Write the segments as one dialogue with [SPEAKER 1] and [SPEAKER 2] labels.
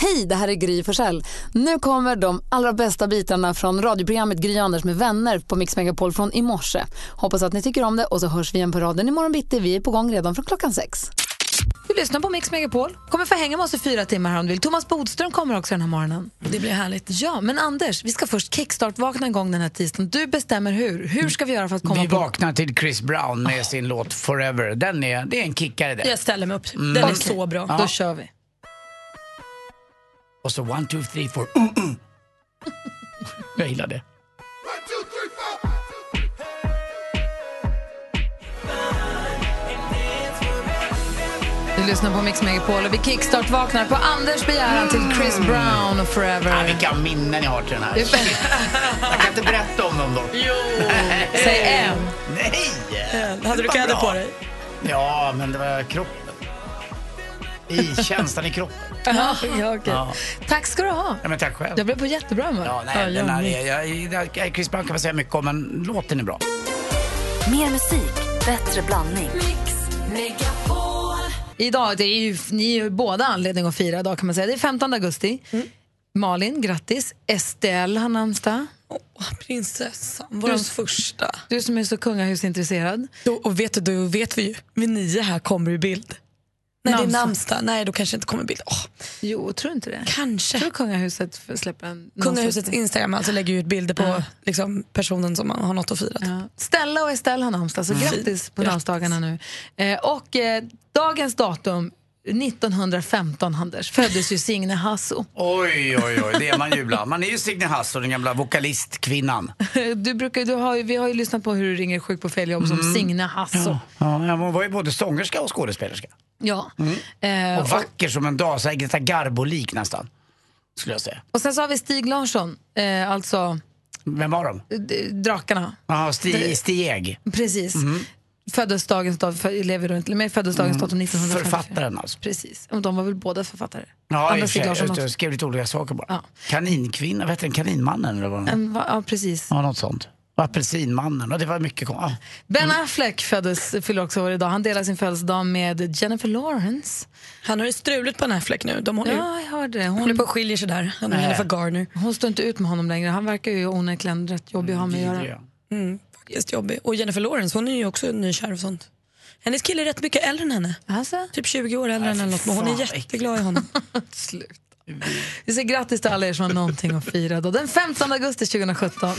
[SPEAKER 1] Hej, det här är Gry Forssell. Nu kommer de allra bästa bitarna från radioprogrammet Gry Anders med vänner på Mix Megapol från i morse. Hoppas att ni tycker om det och så hörs vi igen på raden imorgon bitti. Vi är på gång redan från klockan sex. Du lyssnar på Mix Megapol. Kommer få hänga med oss i fyra timmar här om du vill. Thomas Bodström kommer också den här morgonen.
[SPEAKER 2] Det blir härligt.
[SPEAKER 1] Ja, men Anders, vi ska först kickstart-vakna en gång den här tisdagen. Du bestämmer hur. Hur ska vi göra för att komma
[SPEAKER 3] Vi
[SPEAKER 1] på...
[SPEAKER 3] vaknar till Chris Brown med sin låt Forever. Den är, det är en kickare där.
[SPEAKER 2] Ah.
[SPEAKER 3] Mm.
[SPEAKER 2] Jag ställer mig upp. Den är
[SPEAKER 1] Okej.
[SPEAKER 2] så bra.
[SPEAKER 1] Då kör vi.
[SPEAKER 3] Och så one, two, three, four. Mm, mm. Jag gillar det.
[SPEAKER 1] Du lyssnar på Mix Megapol och vi kickstart-vaknar på Anders begäran till Chris Brown och
[SPEAKER 3] Ah,
[SPEAKER 1] Forever.
[SPEAKER 3] vilka minnen jag har till den här.
[SPEAKER 1] Det är
[SPEAKER 3] Shit,
[SPEAKER 1] bäst.
[SPEAKER 3] Jag kan inte berätta om dem dock.
[SPEAKER 1] Säg en.
[SPEAKER 3] Nej!
[SPEAKER 2] Eh, Hade du
[SPEAKER 3] Vad
[SPEAKER 2] kläder
[SPEAKER 3] bra.
[SPEAKER 2] på dig?
[SPEAKER 3] Ja, men det var kroppen. I känslan i kroppen.
[SPEAKER 1] Ja, ja, okej.
[SPEAKER 3] Ja.
[SPEAKER 1] Tack ska du ha.
[SPEAKER 3] Ja, men tack själv.
[SPEAKER 1] Jag blev på jättebra humör.
[SPEAKER 3] Ja, nej, den här är, jag, jag, Chris Brown kan man säga mycket om, men låten är bra.
[SPEAKER 4] Mer musik, bättre blandning.
[SPEAKER 1] Idag, det är ju, ni är ju båda anledning att fira idag kan man säga. Det är 15 augusti. Malin, grattis. Estelle har namnsdag.
[SPEAKER 2] Åh, prinsessan. Vår första.
[SPEAKER 1] Du som är så kungahusintresserad.
[SPEAKER 2] Då, och vet du, då vet vi ju. Vid nio här kommer du i bild. Nej, det är
[SPEAKER 1] Namnsdag.
[SPEAKER 2] namnsdag. Nej, då kanske inte kommer bild. Åh,
[SPEAKER 1] Jo, tror du inte det? Tror
[SPEAKER 2] kanske.
[SPEAKER 1] du kungahuset f- släpper en...
[SPEAKER 2] Kungahusets
[SPEAKER 1] någon sorts-
[SPEAKER 2] Instagram alltså lägger ut bilder på
[SPEAKER 1] Ja.
[SPEAKER 2] liksom, personen som man har något att fira. typ. Mm.
[SPEAKER 1] Ja. Stella och Estelle har namnsdag, så grattis på
[SPEAKER 2] Grattis.
[SPEAKER 1] namnsdagarna nu. Eh, och eh, dagens datum, 1915, Anders, föddes ju Signe Hasso.
[SPEAKER 3] Oj, oj, oj, det är man ju ibland. Man är ju Signe Hasso, den gamla vokalistkvinnan.
[SPEAKER 1] Du brukar, du har, ju- vi har ju lyssnat på hur du ringer sjuk på fel jobb som Signe Hasso. Ja.
[SPEAKER 3] Ja, ja, hon var ju både sångerska och skådespelerska. Mm.
[SPEAKER 1] Eh,
[SPEAKER 3] Och vacker som en dag, så här Greta Garbo-lik nästan. Skulle jag säga.
[SPEAKER 1] Och sen så har vi Stig Larsson, eh, alltså
[SPEAKER 3] Vem var de?
[SPEAKER 1] d- drakarna.
[SPEAKER 3] Jaha, Sti, Stieg.
[SPEAKER 1] Precis.
[SPEAKER 3] Mhm. Mm,
[SPEAKER 1] Föddes dagens dag, för, lever då inte, men föddes dagens datum 1954.
[SPEAKER 3] Författaren alltså.
[SPEAKER 1] Precis. Och de var väl båda författare?
[SPEAKER 3] Ja, i
[SPEAKER 1] Andra
[SPEAKER 3] och för
[SPEAKER 1] Stig
[SPEAKER 3] sig.
[SPEAKER 1] Larsson
[SPEAKER 3] Just det,
[SPEAKER 1] också.
[SPEAKER 3] Jag skrev lite olika saker bara.
[SPEAKER 1] Ja.
[SPEAKER 3] Kaninkvinna, vad heter den? Kaninmannen eller vad den-
[SPEAKER 1] En, va, ja, precis.
[SPEAKER 3] Ja, något sånt. Apelsinmannen, och det var mycket kon- ja.
[SPEAKER 1] Ben Affleck föddes, fyller också år idag. Han delar sin födelsedag med Jennifer Lawrence.
[SPEAKER 2] Han har ju struligt på en Affleck nu. De håller ju
[SPEAKER 1] Ja, jag hörde det.
[SPEAKER 2] håller
[SPEAKER 1] Hon,
[SPEAKER 2] på och skiljer sig där. Han och
[SPEAKER 3] Nej.
[SPEAKER 2] Jennifer Garner.
[SPEAKER 1] hon står inte ut med honom längre. Han verkar ju onekligen rätt jobbig att ha med att göra.
[SPEAKER 3] Vidriga.
[SPEAKER 2] Mm. Faktiskt jobbig. Och Jennifer Lawrence, hon är ju också nykär och sånt. Hennes kille är rätt mycket äldre än henne.
[SPEAKER 1] Alltså,
[SPEAKER 2] Typ 20 år äldre än henne. Men hon
[SPEAKER 3] Alltså, fan,
[SPEAKER 2] är jätteglad i honom.
[SPEAKER 1] slut. Vi säger grattis till alla er som har någonting att fira då. den 15 augusti 2017.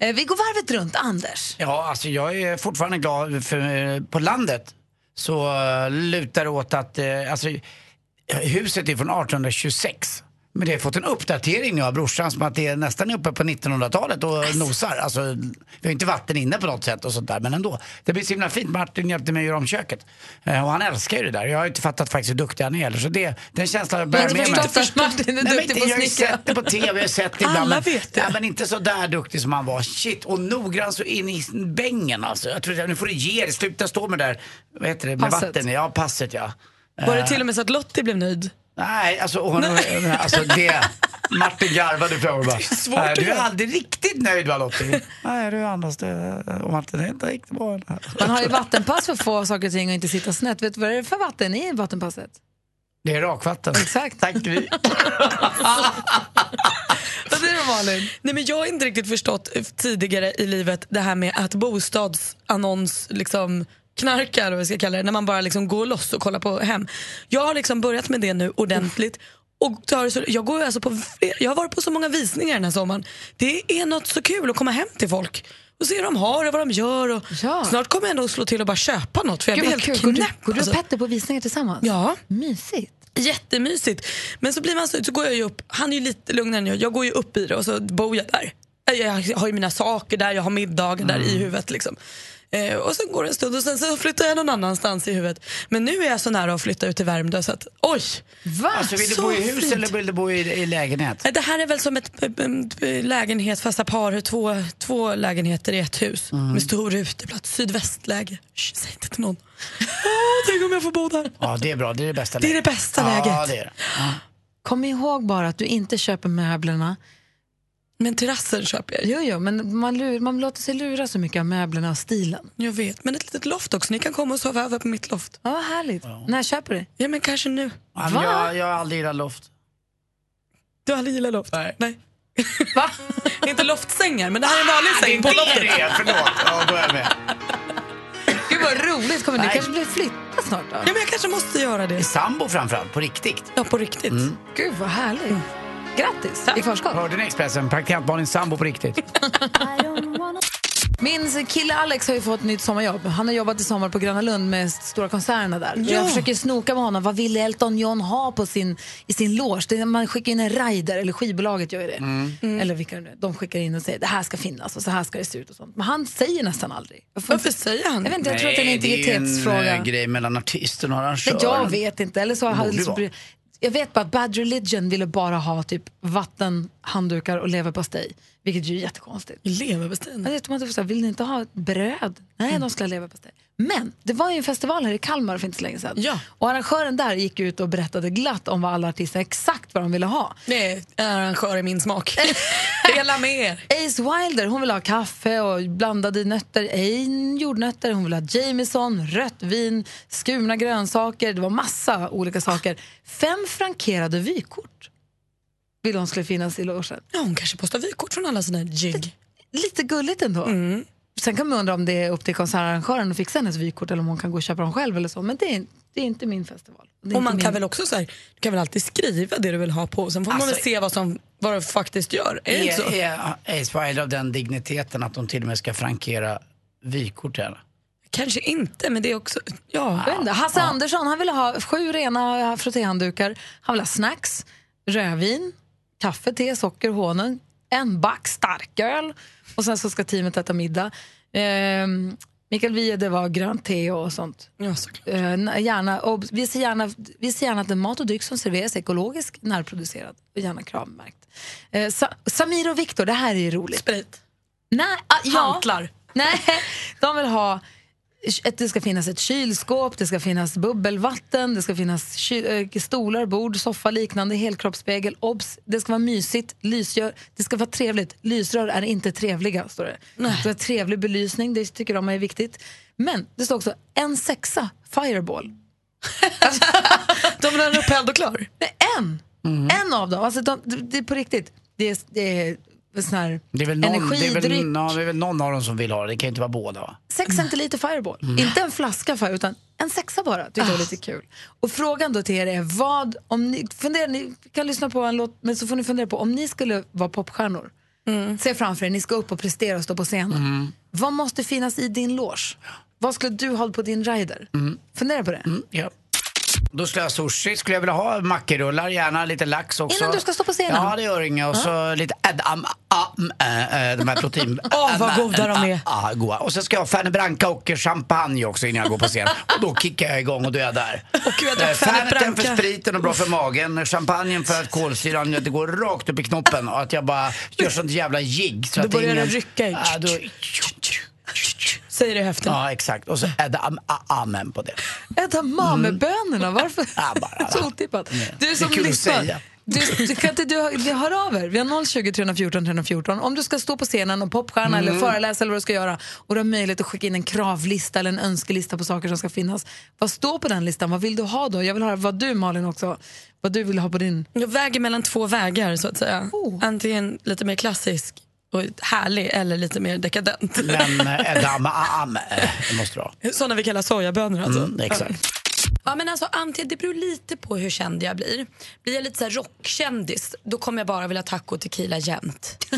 [SPEAKER 1] Eh, Vi går varvet runt. Anders.
[SPEAKER 3] Ja, alltså jag är fortfarande glad för eh, på landet så eh, lutar det åt att, eh, alltså huset är från 1826. Men det har fått en uppdatering nu av brorsan som att det är nästan uppe på 1900-talet och nosar. Alltså, vi har inte vatten inne på något sätt och sånt där, men ändå. Det blir så himla fint. Martin hjälpte mig att göra om köket. Eh, Och han älskar ju det där. Jag har inte fattat faktiskt hur duktig han är heller. Så det, den känslan bär
[SPEAKER 1] Jag
[SPEAKER 3] jag med mig.
[SPEAKER 1] förstår först Martin är
[SPEAKER 3] Nej, men
[SPEAKER 1] duktig på
[SPEAKER 3] inte-
[SPEAKER 1] att
[SPEAKER 3] Jag har ju
[SPEAKER 1] snickra.
[SPEAKER 3] sett det på tv, jag har sett det ibland.
[SPEAKER 2] Alla
[SPEAKER 3] men-
[SPEAKER 2] vet det.
[SPEAKER 3] Nej, men inte så där duktig som han var. Shit, och noggrann så in i bängen alltså. Jag trodde, nu får du ge dig, sluta stå med det där, vad heter det, med
[SPEAKER 1] Passet.
[SPEAKER 3] vatten Ja, passet ja.
[SPEAKER 2] Var det till och med så att Lottie blev nöjd?
[SPEAKER 3] Nej, alltså, hon, alltså det. Martin garvade framför bara.
[SPEAKER 2] svårt
[SPEAKER 3] "Nej,
[SPEAKER 2] att
[SPEAKER 3] Eh, du är
[SPEAKER 2] göra."
[SPEAKER 3] aldrig riktigt nöjd va Lottie? Nej, du är annars det. Och Martin är inte riktigt bra.
[SPEAKER 1] Man har ju vattenpass för att få saker och ting och inte sitta snett. Vet du vad det är för vatten i vattenpasset?
[SPEAKER 3] Det är rakvatten.
[SPEAKER 1] Exakt.
[SPEAKER 3] Tack Gry.
[SPEAKER 1] Vad säger du Malin?
[SPEAKER 2] Nej, men jag har inte riktigt förstått eh, tidigare i livet det här med att bostadsannons liksom knarkar eller vad vi ska kalla det, när man bara liksom går loss och kollar på hem. Jag har liksom börjat med det nu ordentligt. Och tar det så, jag, går ju alltså på, fler- jag har varit på så många visningar den här sommaren. Det är något så kul att komma hem till folk och se hur de har det, vad de gör. Och
[SPEAKER 1] Ja.
[SPEAKER 2] Snart kommer jag ändå att slå till och bara köpa något för jag blir
[SPEAKER 1] Gud, vad
[SPEAKER 2] helt
[SPEAKER 1] kul.
[SPEAKER 2] knäpp.
[SPEAKER 1] Går du, går du och
[SPEAKER 2] alltså.
[SPEAKER 1] Petter på visningar tillsammans?
[SPEAKER 2] Ja.
[SPEAKER 1] Mysigt.
[SPEAKER 2] Jättemysigt. Men så blir man så, så går jag ju upp, han är ju lite lugnare än jag, jag går ju upp i det och så bor jag där. Jag har ju mina saker där, jag har middagar där i huvudet liksom. Eh, och sen går det en stund och sen så flyttar jag någon annanstans i huvudet. Men nu är jag så nära att flytta ut till Värmdö så att oj!
[SPEAKER 1] Va?
[SPEAKER 3] Alltså, vill du
[SPEAKER 2] Så
[SPEAKER 3] bo i hus
[SPEAKER 2] fint.
[SPEAKER 3] eller vill du bo i, i lägenhet?
[SPEAKER 2] Eh, Det här är väl som ett, eh, eh, lägenhet fast par, två, två lägenheter i ett hus.
[SPEAKER 3] Mm.
[SPEAKER 2] Med stor uteplats, sydvästläge. Shh, säg inte till någon. Åh, tänk om jag får bo där.
[SPEAKER 3] Ja, det är bra. Det är det bästa
[SPEAKER 2] Det är
[SPEAKER 3] läget.
[SPEAKER 2] det bästa
[SPEAKER 3] Ja,
[SPEAKER 2] läget.
[SPEAKER 3] det är det.
[SPEAKER 1] Kom ihåg bara att du inte köper möblerna.
[SPEAKER 2] Men terrassen köper jag ju.
[SPEAKER 1] Jo, jo, men man, lur, man låter sig lura så mycket av möblerna och stilen.
[SPEAKER 2] Jag vet, men ett litet loft också. Ni kan komma och sova över på mitt loft.
[SPEAKER 1] Ja, vad härligt. När köper du det?
[SPEAKER 2] Ja, men kanske nu.
[SPEAKER 3] Ja, men
[SPEAKER 1] Va?
[SPEAKER 3] Jag, jag har aldrig gillat loft.
[SPEAKER 2] Du har aldrig gillat loft?
[SPEAKER 3] Nej.
[SPEAKER 1] Va?
[SPEAKER 2] Inte loftsängar, men det här är en vanlig säng på
[SPEAKER 3] Inte
[SPEAKER 2] loftet.
[SPEAKER 3] Ah, det, är, förlåt. Ja, då är jag med.
[SPEAKER 1] Gud vad roligt. Kommer det
[SPEAKER 3] Nej.
[SPEAKER 1] kanske blir flytta snart då?
[SPEAKER 2] Ja, men jag kanske måste göra det.
[SPEAKER 3] Sambo framförallt, på riktigt. Mm.
[SPEAKER 2] Ja, på riktigt.
[SPEAKER 1] Gud vad härligt.
[SPEAKER 2] Mm.
[SPEAKER 1] Grattis i förskott.
[SPEAKER 3] Hörde ni Expressen? Praktikant Malins sambo på riktigt.
[SPEAKER 1] Min kille Alex har ju fått nytt sommarjobb. Han har jobbat i sommar på Gröna Lund med stora konserterna där.
[SPEAKER 2] Ja.
[SPEAKER 1] Jag försöker snoka med honom. Vad vill Elton John ha på sin, i sin loge? Det är- Man skickar in en rider, eller skivbolaget gör ju det.
[SPEAKER 2] Mm.
[SPEAKER 1] Mm. Eller vilka det nu är. De skickar in och säger det här ska finnas och så här ska det se ut och sånt. Men han säger nästan aldrig. Jag får
[SPEAKER 2] Varför
[SPEAKER 1] inte-
[SPEAKER 2] säger han
[SPEAKER 1] Jag
[SPEAKER 2] det?
[SPEAKER 1] vet inte, jag tror att det är en integritetsfråga.
[SPEAKER 3] Det är ju en eh, grej mellan artisten och
[SPEAKER 1] Nej,
[SPEAKER 3] arrangören.
[SPEAKER 1] jag vet inte. Eller så hade
[SPEAKER 3] borde
[SPEAKER 1] liksom,
[SPEAKER 3] vara.
[SPEAKER 1] jag vet bara att Bad Religion ville bara ha typ vatten, handdukar och leverpastej. Vilket ju är jättekonstigt.
[SPEAKER 2] Leverpastejen.
[SPEAKER 1] Jag vet, de hade sagt, vill ni inte ha ett bröd? Nej, de skulle ha leverpastej. Men det var ju en festival här i Kalmar för inte så länge sedan.
[SPEAKER 2] Ja.
[SPEAKER 1] Och arrangören där gick ut och berättade glatt om vad alla artister exakt vad de ville ha.
[SPEAKER 2] Nej, en arrangör i min smak. Dela med er.
[SPEAKER 1] Ace Wilder hon vill ha kaffe och blandade nötter, ej, jordnötter, hon vill ha Jameson, rött vin, skurna grönsaker, det var massa olika saker. Fem frankerade vykort vill hon skulle finnas i logen.
[SPEAKER 2] Ja, hon kanske postar vykort från alla sina jigg. Mm.
[SPEAKER 1] Lite gulligt ändå. Sen kan man undra om det är upp till konsertarrangören att fixa hennes vykort eller om hon kan gå och köpa dem själv eller så, men det är, det är inte min festival. Det
[SPEAKER 2] Och
[SPEAKER 1] är inte
[SPEAKER 2] man
[SPEAKER 1] min...
[SPEAKER 2] kan väl också så här, du kan väl alltid skriva det du vill ha på sen får man väl
[SPEAKER 3] Alltså-
[SPEAKER 2] se vad, som, vad du faktiskt gör. Är det inte så?
[SPEAKER 3] Är, är Ace Wilder av den digniteten att de till och med ska frankera vykort till henne?
[SPEAKER 2] Kanske inte, men det är också... Ja.
[SPEAKER 1] Jag vet inte. Hasse Andersson han ville ha sju rena frottéhanddukar. Han ville ha snacks, rödvin, kaffe, te, socker, honung, en back starköl och sen så ska teamet äta middag. Ehm, Mikael Wiehe, det var grönt te och sånt.
[SPEAKER 2] ja såklart.
[SPEAKER 1] Ehm, gärna, och vi, ser gärna, vi ser gärna att den mat och dryck som serveras är ekologisk, närproducerad och gärna kravmärkt. Ehm, Sa- Samir och Viktor, det här är ju roligt.
[SPEAKER 2] Sprit.
[SPEAKER 1] Nej, ah, ja.
[SPEAKER 2] Hantlar.
[SPEAKER 1] Nej, de vill ha att det ska finnas ett kylskåp, det ska finnas bubbelvatten, det ska finnas ky- eh, stolar, bord, soffa, liknande, helkroppsspegel, obs, det ska vara mysigt, lysrör, det ska vara trevligt. Lysrör är inte trevliga, står det. Det ska vara trevlig belysning, det tycker de är viktigt. Men det står också en sexa fireball.
[SPEAKER 2] De vill ha den upphälld och klar.
[SPEAKER 1] Nej, en!
[SPEAKER 3] Mm.
[SPEAKER 1] En av dem, alltså de, det, det är på riktigt. Det är, det är sån här
[SPEAKER 3] Det är, väl någon, Mm. det, är
[SPEAKER 1] energidryck.
[SPEAKER 3] väl, ja, det är väl någon av dem som vill ha det, det kan ju inte vara båda va?
[SPEAKER 1] Sex centiliter Fireball.
[SPEAKER 3] Mm.
[SPEAKER 1] Inte en flaska Fireball, utan en sexa bara. Tyckte
[SPEAKER 3] Ah.
[SPEAKER 1] jag var lite kul. Och frågan då till er är vad, om ni, funderar, ni kan lyssna på en låt, men så får ni fundera på om ni skulle vara popstjärnor.
[SPEAKER 3] Mm.
[SPEAKER 1] Se framför er, ni ska upp och prestera och stå på scenen. Vad måste finnas i din loge? Vad skulle du ha på din rider? Fundera på det.
[SPEAKER 3] Mm. Ja. Då skulle jag ha sushi, skulle jag vilja ha mackerullar, gärna lite lax också.
[SPEAKER 1] Innan du ska stå på scenen?
[SPEAKER 3] Ja, det gör inget. Och så lite adam, am, äh, äh, de här protein...
[SPEAKER 2] Åh, vad goda de är.
[SPEAKER 3] Ja, goda. Och så ska jag ha Fernet Branca och champagne också innan jag går på scen. Och då kickar jag igång och då är jag där.
[SPEAKER 2] Åh, gud, jag drack
[SPEAKER 3] Eh,
[SPEAKER 2] Fernet
[SPEAKER 3] Ferneten för
[SPEAKER 2] Branca.
[SPEAKER 3] spriten och bra för magen. Champagnen för att kolsyran det går rakt upp i knoppen och att jag bara gör sånt jävla jigg. Så
[SPEAKER 2] Då
[SPEAKER 3] att
[SPEAKER 2] börjar
[SPEAKER 3] ingen...
[SPEAKER 2] den rycka i.
[SPEAKER 3] Ja, då...
[SPEAKER 2] Säger det i höften.
[SPEAKER 3] ja, exakt.
[SPEAKER 1] Mm.
[SPEAKER 3] Och så adam, amen på det. Mm.
[SPEAKER 1] Äta mamebönorna, varför?
[SPEAKER 3] Ja, bara.
[SPEAKER 1] så otippat. Du som
[SPEAKER 3] Det är kul att
[SPEAKER 1] lyssnar,
[SPEAKER 3] säga.
[SPEAKER 1] du, du, kan inte du, du hör av er. Vi har 020 314 314. Om du ska stå på scenen och popstjärna
[SPEAKER 3] Mm.
[SPEAKER 1] eller föreläsa eller vad du ska göra och du har möjlighet att skicka in en kravlista eller en önskelista på saker som ska finnas. Vad står på den listan? Vad vill du ha då? Jag vill höra vad du Malin också, vad du vill ha på din...
[SPEAKER 2] Jag väger mellan två vägar så att säga.
[SPEAKER 1] Oh.
[SPEAKER 2] Antingen lite mer klassisk och härlig eller lite mer dekadent.
[SPEAKER 3] Men eh, adam, am, eh, det måste du ha.
[SPEAKER 2] Sådana vi kallar sojabönor alltså.
[SPEAKER 3] Mm, exakt.
[SPEAKER 2] Ja, men alltså, Antje, det beror lite på hur känd jag blir. Blir jag lite så här rockkändis, då kommer jag bara vilja taco och tequila jämt.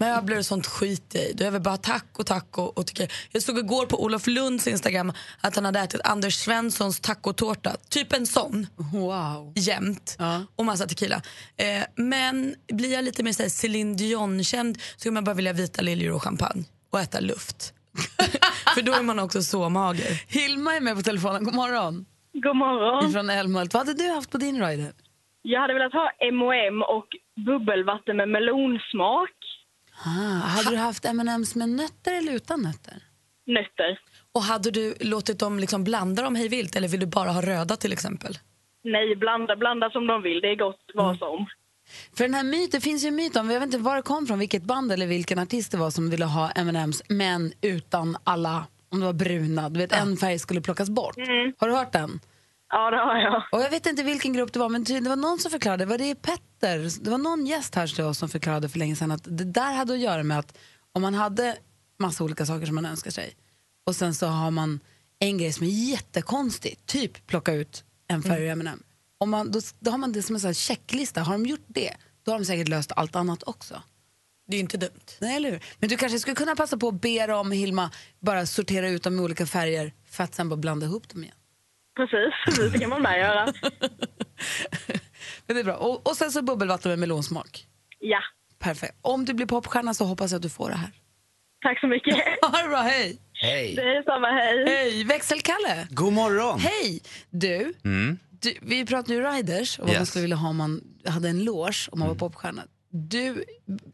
[SPEAKER 2] Möbler och sånt skit i. Då är jag väl bara taco, taco och tequila. Jag såg igår på Olof Lunds Instagram att han hade ätit Anders Svenssons tacotårta. Typ en sån
[SPEAKER 1] Wow.
[SPEAKER 2] jämt och massa tequila. Eh, men blir jag lite mer såhär Céline Dion-känd så kommer jag bara vilja vita liljor och champagne och äta luft. För då är man också så mager.
[SPEAKER 1] Hilma är med på telefonen. God morgon.
[SPEAKER 5] God morgon.
[SPEAKER 1] Från Älmhult. Vad hade du haft på din rider?
[SPEAKER 5] Jag hade velat ha M&M och bubbelvatten med melonsmak.
[SPEAKER 1] Ah, hade du haft M&M's med nötter eller utan nötter?
[SPEAKER 5] Nötter.
[SPEAKER 2] Och hade du låtit dem liksom blanda dem hej vilt eller vill du bara ha röda till exempel?
[SPEAKER 6] Mm.
[SPEAKER 5] Nej, blanda, blanda som de vill. Det är gott vad som.
[SPEAKER 1] För den här myten, det finns ju en myt om, jag vet inte var det kom från, vilket band eller vilken artist det var som ville ha M&M's men utan alla, om det var bruna, du vet en färg skulle plockas bort.
[SPEAKER 5] Mm.
[SPEAKER 1] Har du hört den?
[SPEAKER 5] Ja, det har jag.
[SPEAKER 1] Och jag vet inte vilken grupp det var, men tydligen- det var någon som förklarade, var det Petter? Det var någon gäst här till oss som förklarade för länge sedan att det där hade att göra med att om man hade massa olika saker som man önskar sig och sen så har man en grej som är jättekonstig, typ plocka ut en färg ur M&M. Om man, då, då har man det som en sån här checklista, har de gjort det, då har de säkert löst allt annat också.
[SPEAKER 2] Det är ju inte dumt.
[SPEAKER 1] Nej, eller hur? Men du kanske skulle kunna passa på att be dem, Hilma, bara sortera ut dem i olika färger för att sen bara blanda ihop dem igen.
[SPEAKER 5] Precis, det kan man med göra.
[SPEAKER 1] Men det är bra. Och, och sen så bubbelvatten med melonsmak.
[SPEAKER 5] Ja,
[SPEAKER 1] Perfekt. Om du blir popstjärna så hoppas jag att du får det här.
[SPEAKER 5] tack så mycket.
[SPEAKER 1] Ha det bra, hej!
[SPEAKER 5] Det
[SPEAKER 3] Hej.
[SPEAKER 5] är samma, hej.
[SPEAKER 1] Hej! Växelkalle!
[SPEAKER 7] God morgon! Mm.
[SPEAKER 1] Hej! Du, du, vi pratade ju riders och vad man
[SPEAKER 7] Yes. Mm.
[SPEAKER 1] skulle vilja ha om man hade en loge om man var popstjärna. Du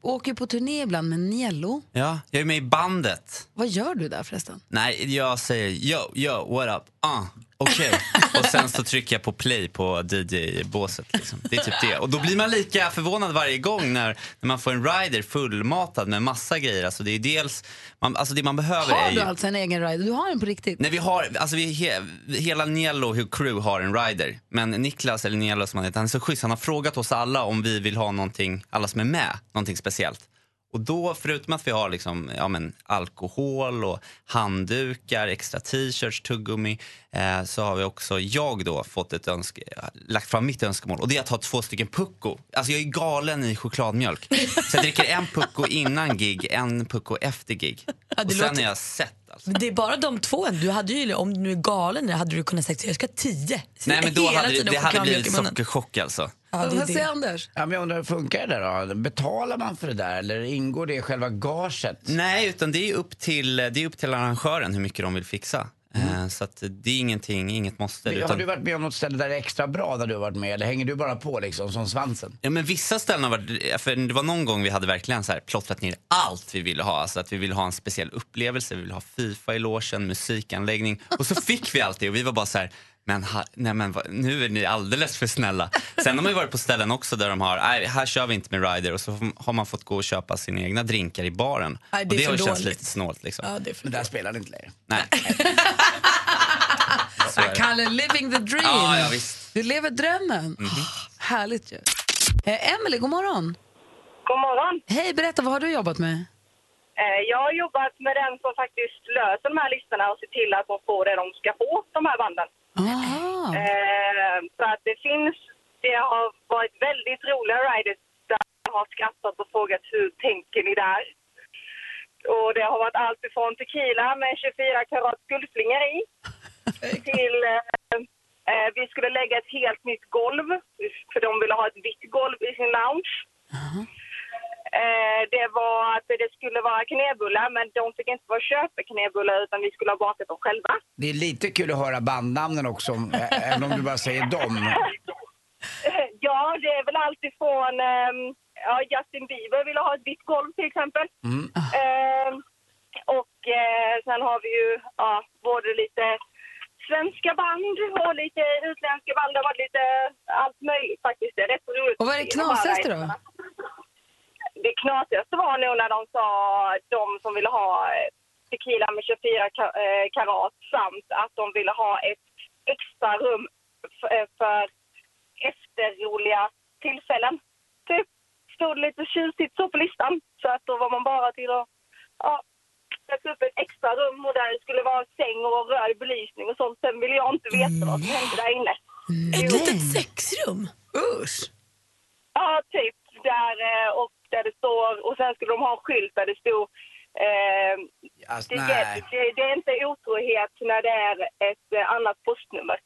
[SPEAKER 1] åker ju på turné ibland med Niello.
[SPEAKER 7] Ja, jag är med i bandet.
[SPEAKER 1] Vad gör du där förresten?
[SPEAKER 7] Nej, jag säger yo, yo, what up, ah, okej. Och sen så trycker jag på play på DJ-båset. Liksom. Det är typ det. Och då blir man lika förvånad varje gång när, när man får en rider fullmatad med massa grejer. Alltså det är dels, man, alltså det man behöver är
[SPEAKER 1] Har
[SPEAKER 7] ju...
[SPEAKER 1] du alltså en egen rider? Du har en på
[SPEAKER 2] typ.
[SPEAKER 1] riktigt?
[SPEAKER 7] Nej, vi har, alltså vi, he, hela Niello och crew har en rider. Men Niklas, eller Niello som han heter, han är så schysst. Han har frågat oss alla om vi vill ha någonting, alla som är med, någonting speciellt. Och då, förutom att vi har liksom, ja, men, alkohol och handdukar, extra t-shirts, tuggummi, eh, så har vi också, jag då, fått ett önske, lagt fram mitt önskemål. Och det är att ha två stycken pucko. Alltså jag är galen i chokladmjölk. Så jag dricker en pucko innan gig, en pucko efter gig.
[SPEAKER 2] Ja, det
[SPEAKER 7] och sen
[SPEAKER 2] låter-
[SPEAKER 7] är jag sett alltså.
[SPEAKER 2] Men Det är bara de två. Du hade ju, om du nu är galen, hade du kunnat säga att jag ska ha tio.
[SPEAKER 7] Nej men då
[SPEAKER 2] Hela
[SPEAKER 7] hade det,
[SPEAKER 2] tiden
[SPEAKER 7] det hade
[SPEAKER 2] chokladmjölk i
[SPEAKER 7] blivit
[SPEAKER 2] munnen.
[SPEAKER 7] sockerchock alltså.
[SPEAKER 2] Ja, det
[SPEAKER 1] Vad
[SPEAKER 2] är
[SPEAKER 1] säger
[SPEAKER 2] det.
[SPEAKER 1] Anders?
[SPEAKER 3] Ja, men jag undrar, hur funkar det där då? Betalar man för det där eller ingår det i själva gaget?
[SPEAKER 7] Nej utan det är upp till, det är upp till arrangören hur mycket de vill fixa. Eh, Så att det är ingenting, inget måste.
[SPEAKER 3] Har
[SPEAKER 7] Utan,
[SPEAKER 3] du varit med om något ställe där det är extra bra där du har varit med eller hänger du bara på liksom som svansen?
[SPEAKER 7] ja, men vissa ställen har varit, för det var någon gång vi hade verkligen så här plottrat ner allt vi ville ha. Alltså att vi ville ha en speciell upplevelse, vi ville ha Fifa i logen, musikanläggning. Och så fick vi allt det och vi var bara så här men, ha, nej men vad- nu är ni alldeles för snälla. Sen har man ju varit på ställen också där de har, nej här kör vi inte med rider och så har man fått gå och köpa sina egna drinkar i baren.
[SPEAKER 2] Nej, det
[SPEAKER 7] och
[SPEAKER 2] är
[SPEAKER 7] det
[SPEAKER 2] för
[SPEAKER 7] har ju känts
[SPEAKER 2] dåligt.
[SPEAKER 7] lite snålt liksom.
[SPEAKER 2] Ja, det är för...
[SPEAKER 3] Men där spelar det inte längre.
[SPEAKER 7] Nej. Så är det.
[SPEAKER 1] Ah, Kalle, living the dream!
[SPEAKER 7] Ja, ja, visst.
[SPEAKER 1] Du lever drömmen.
[SPEAKER 3] Mhm.
[SPEAKER 1] Oh, härligt ju. Eh, Emily, god morgon.
[SPEAKER 6] God morgon.
[SPEAKER 1] Hej, berätta, vad har du jobbat med?
[SPEAKER 6] Eh, Jag har jobbat med den som faktiskt löser de här listorna och ser till att de får det de ska få, de här banden.
[SPEAKER 1] Aha.
[SPEAKER 6] Eh, Så att det finns, det har varit väldigt roliga riders där jag har skrattat och frågat hur tänker ni där? Och det har varit allt ifrån tequila med 24 karat guldflingor i till eh, eh, vi skulle lägga ett helt nytt golv för de ville ha ett vitt golv i sin lounge. Eh, det var att det skulle vara knäbullar, men de fick inte vara köpeknäbullar utan vi skulle ha bakat dem själva.
[SPEAKER 3] Det är lite kul att höra bandnamnen också, om- ä- även om du bara säger dem.
[SPEAKER 6] Ja, det är väl alltifrån... ehm, ja, Justin Bieber ville ha ett vitt golv till exempel.
[SPEAKER 3] Mm.
[SPEAKER 1] Ah.
[SPEAKER 6] Ehm, och eh, sen har vi ju ja, både lite svenska band och lite utländska band. Det har varit lite allt möjligt faktiskt. Det är rätt roligt.
[SPEAKER 1] Och vad är det knasigaste då?
[SPEAKER 6] Det knasigaste var nog när de sa de som ville ha eh, tequila med 24 ka- eh, karat samt att de ville ha ett extra rum f- eh, för efterroliga tillfällen. Typ stod lite tjusigt så på listan så att då var man bara till att ja, sätta upp ett extra rum och där det skulle vara säng och röd belysning och sånt. Sen ville jag inte veta vad som hände där inne.
[SPEAKER 2] Ett litet sexrum. Usch.
[SPEAKER 6] Ja, typ. Där, eh, och där det står, och sen skulle de ha en skylt där det stod eh,
[SPEAKER 3] Alltså,
[SPEAKER 6] det,
[SPEAKER 3] nej.
[SPEAKER 6] det, det är inte otrohet när det är ett eh, annat postnummer.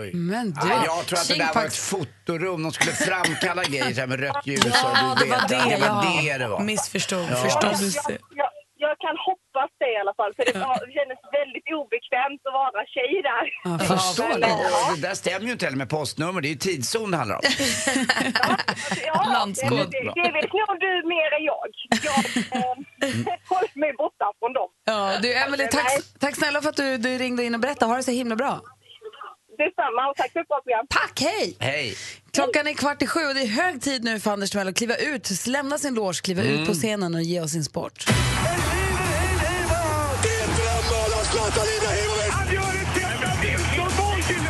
[SPEAKER 3] Oj.
[SPEAKER 1] Men du,
[SPEAKER 3] Nej, jag tror att det där var ett
[SPEAKER 1] Tjingpax-
[SPEAKER 3] fotorum. De skulle framkalla grejer så här med rött ljus.
[SPEAKER 2] Ja,
[SPEAKER 3] och
[SPEAKER 2] det
[SPEAKER 3] du
[SPEAKER 2] var
[SPEAKER 3] vet.
[SPEAKER 2] det.
[SPEAKER 3] Det var
[SPEAKER 2] ja.
[SPEAKER 3] det det var.
[SPEAKER 2] Missförstod.
[SPEAKER 6] Ja,
[SPEAKER 2] Förstod du?
[SPEAKER 6] jag, jag, jag kan hoppas det i alla fall, för det, var, det kändes väldigt obekvämt att vara tjej där.
[SPEAKER 1] Ja,
[SPEAKER 3] Jag förstår
[SPEAKER 6] men-
[SPEAKER 3] det. Och Det där stämmer ju inte heller med postnummer. Det är ju tidszon det handlar om.
[SPEAKER 6] Ja,
[SPEAKER 2] Landskap.
[SPEAKER 6] det- Det, det vet nog du mer än jag. Jag eh,
[SPEAKER 3] Mm.
[SPEAKER 6] håller mig borta från dem.
[SPEAKER 1] Ja, du, Emily, tack,
[SPEAKER 6] Nej.
[SPEAKER 1] tack snälla för att du, du ringde in och berättade. Ha det så himla bra.
[SPEAKER 6] Detsamma, och tack för ett bra program.
[SPEAKER 1] Tack, hej!
[SPEAKER 3] Hej.
[SPEAKER 1] Klockan är kvart i sju och det är hög tid nu för Anders Timell att kliva ut, lämna sin loge, kliva ut
[SPEAKER 3] Mm.
[SPEAKER 1] på scenen och ge oss sin sport.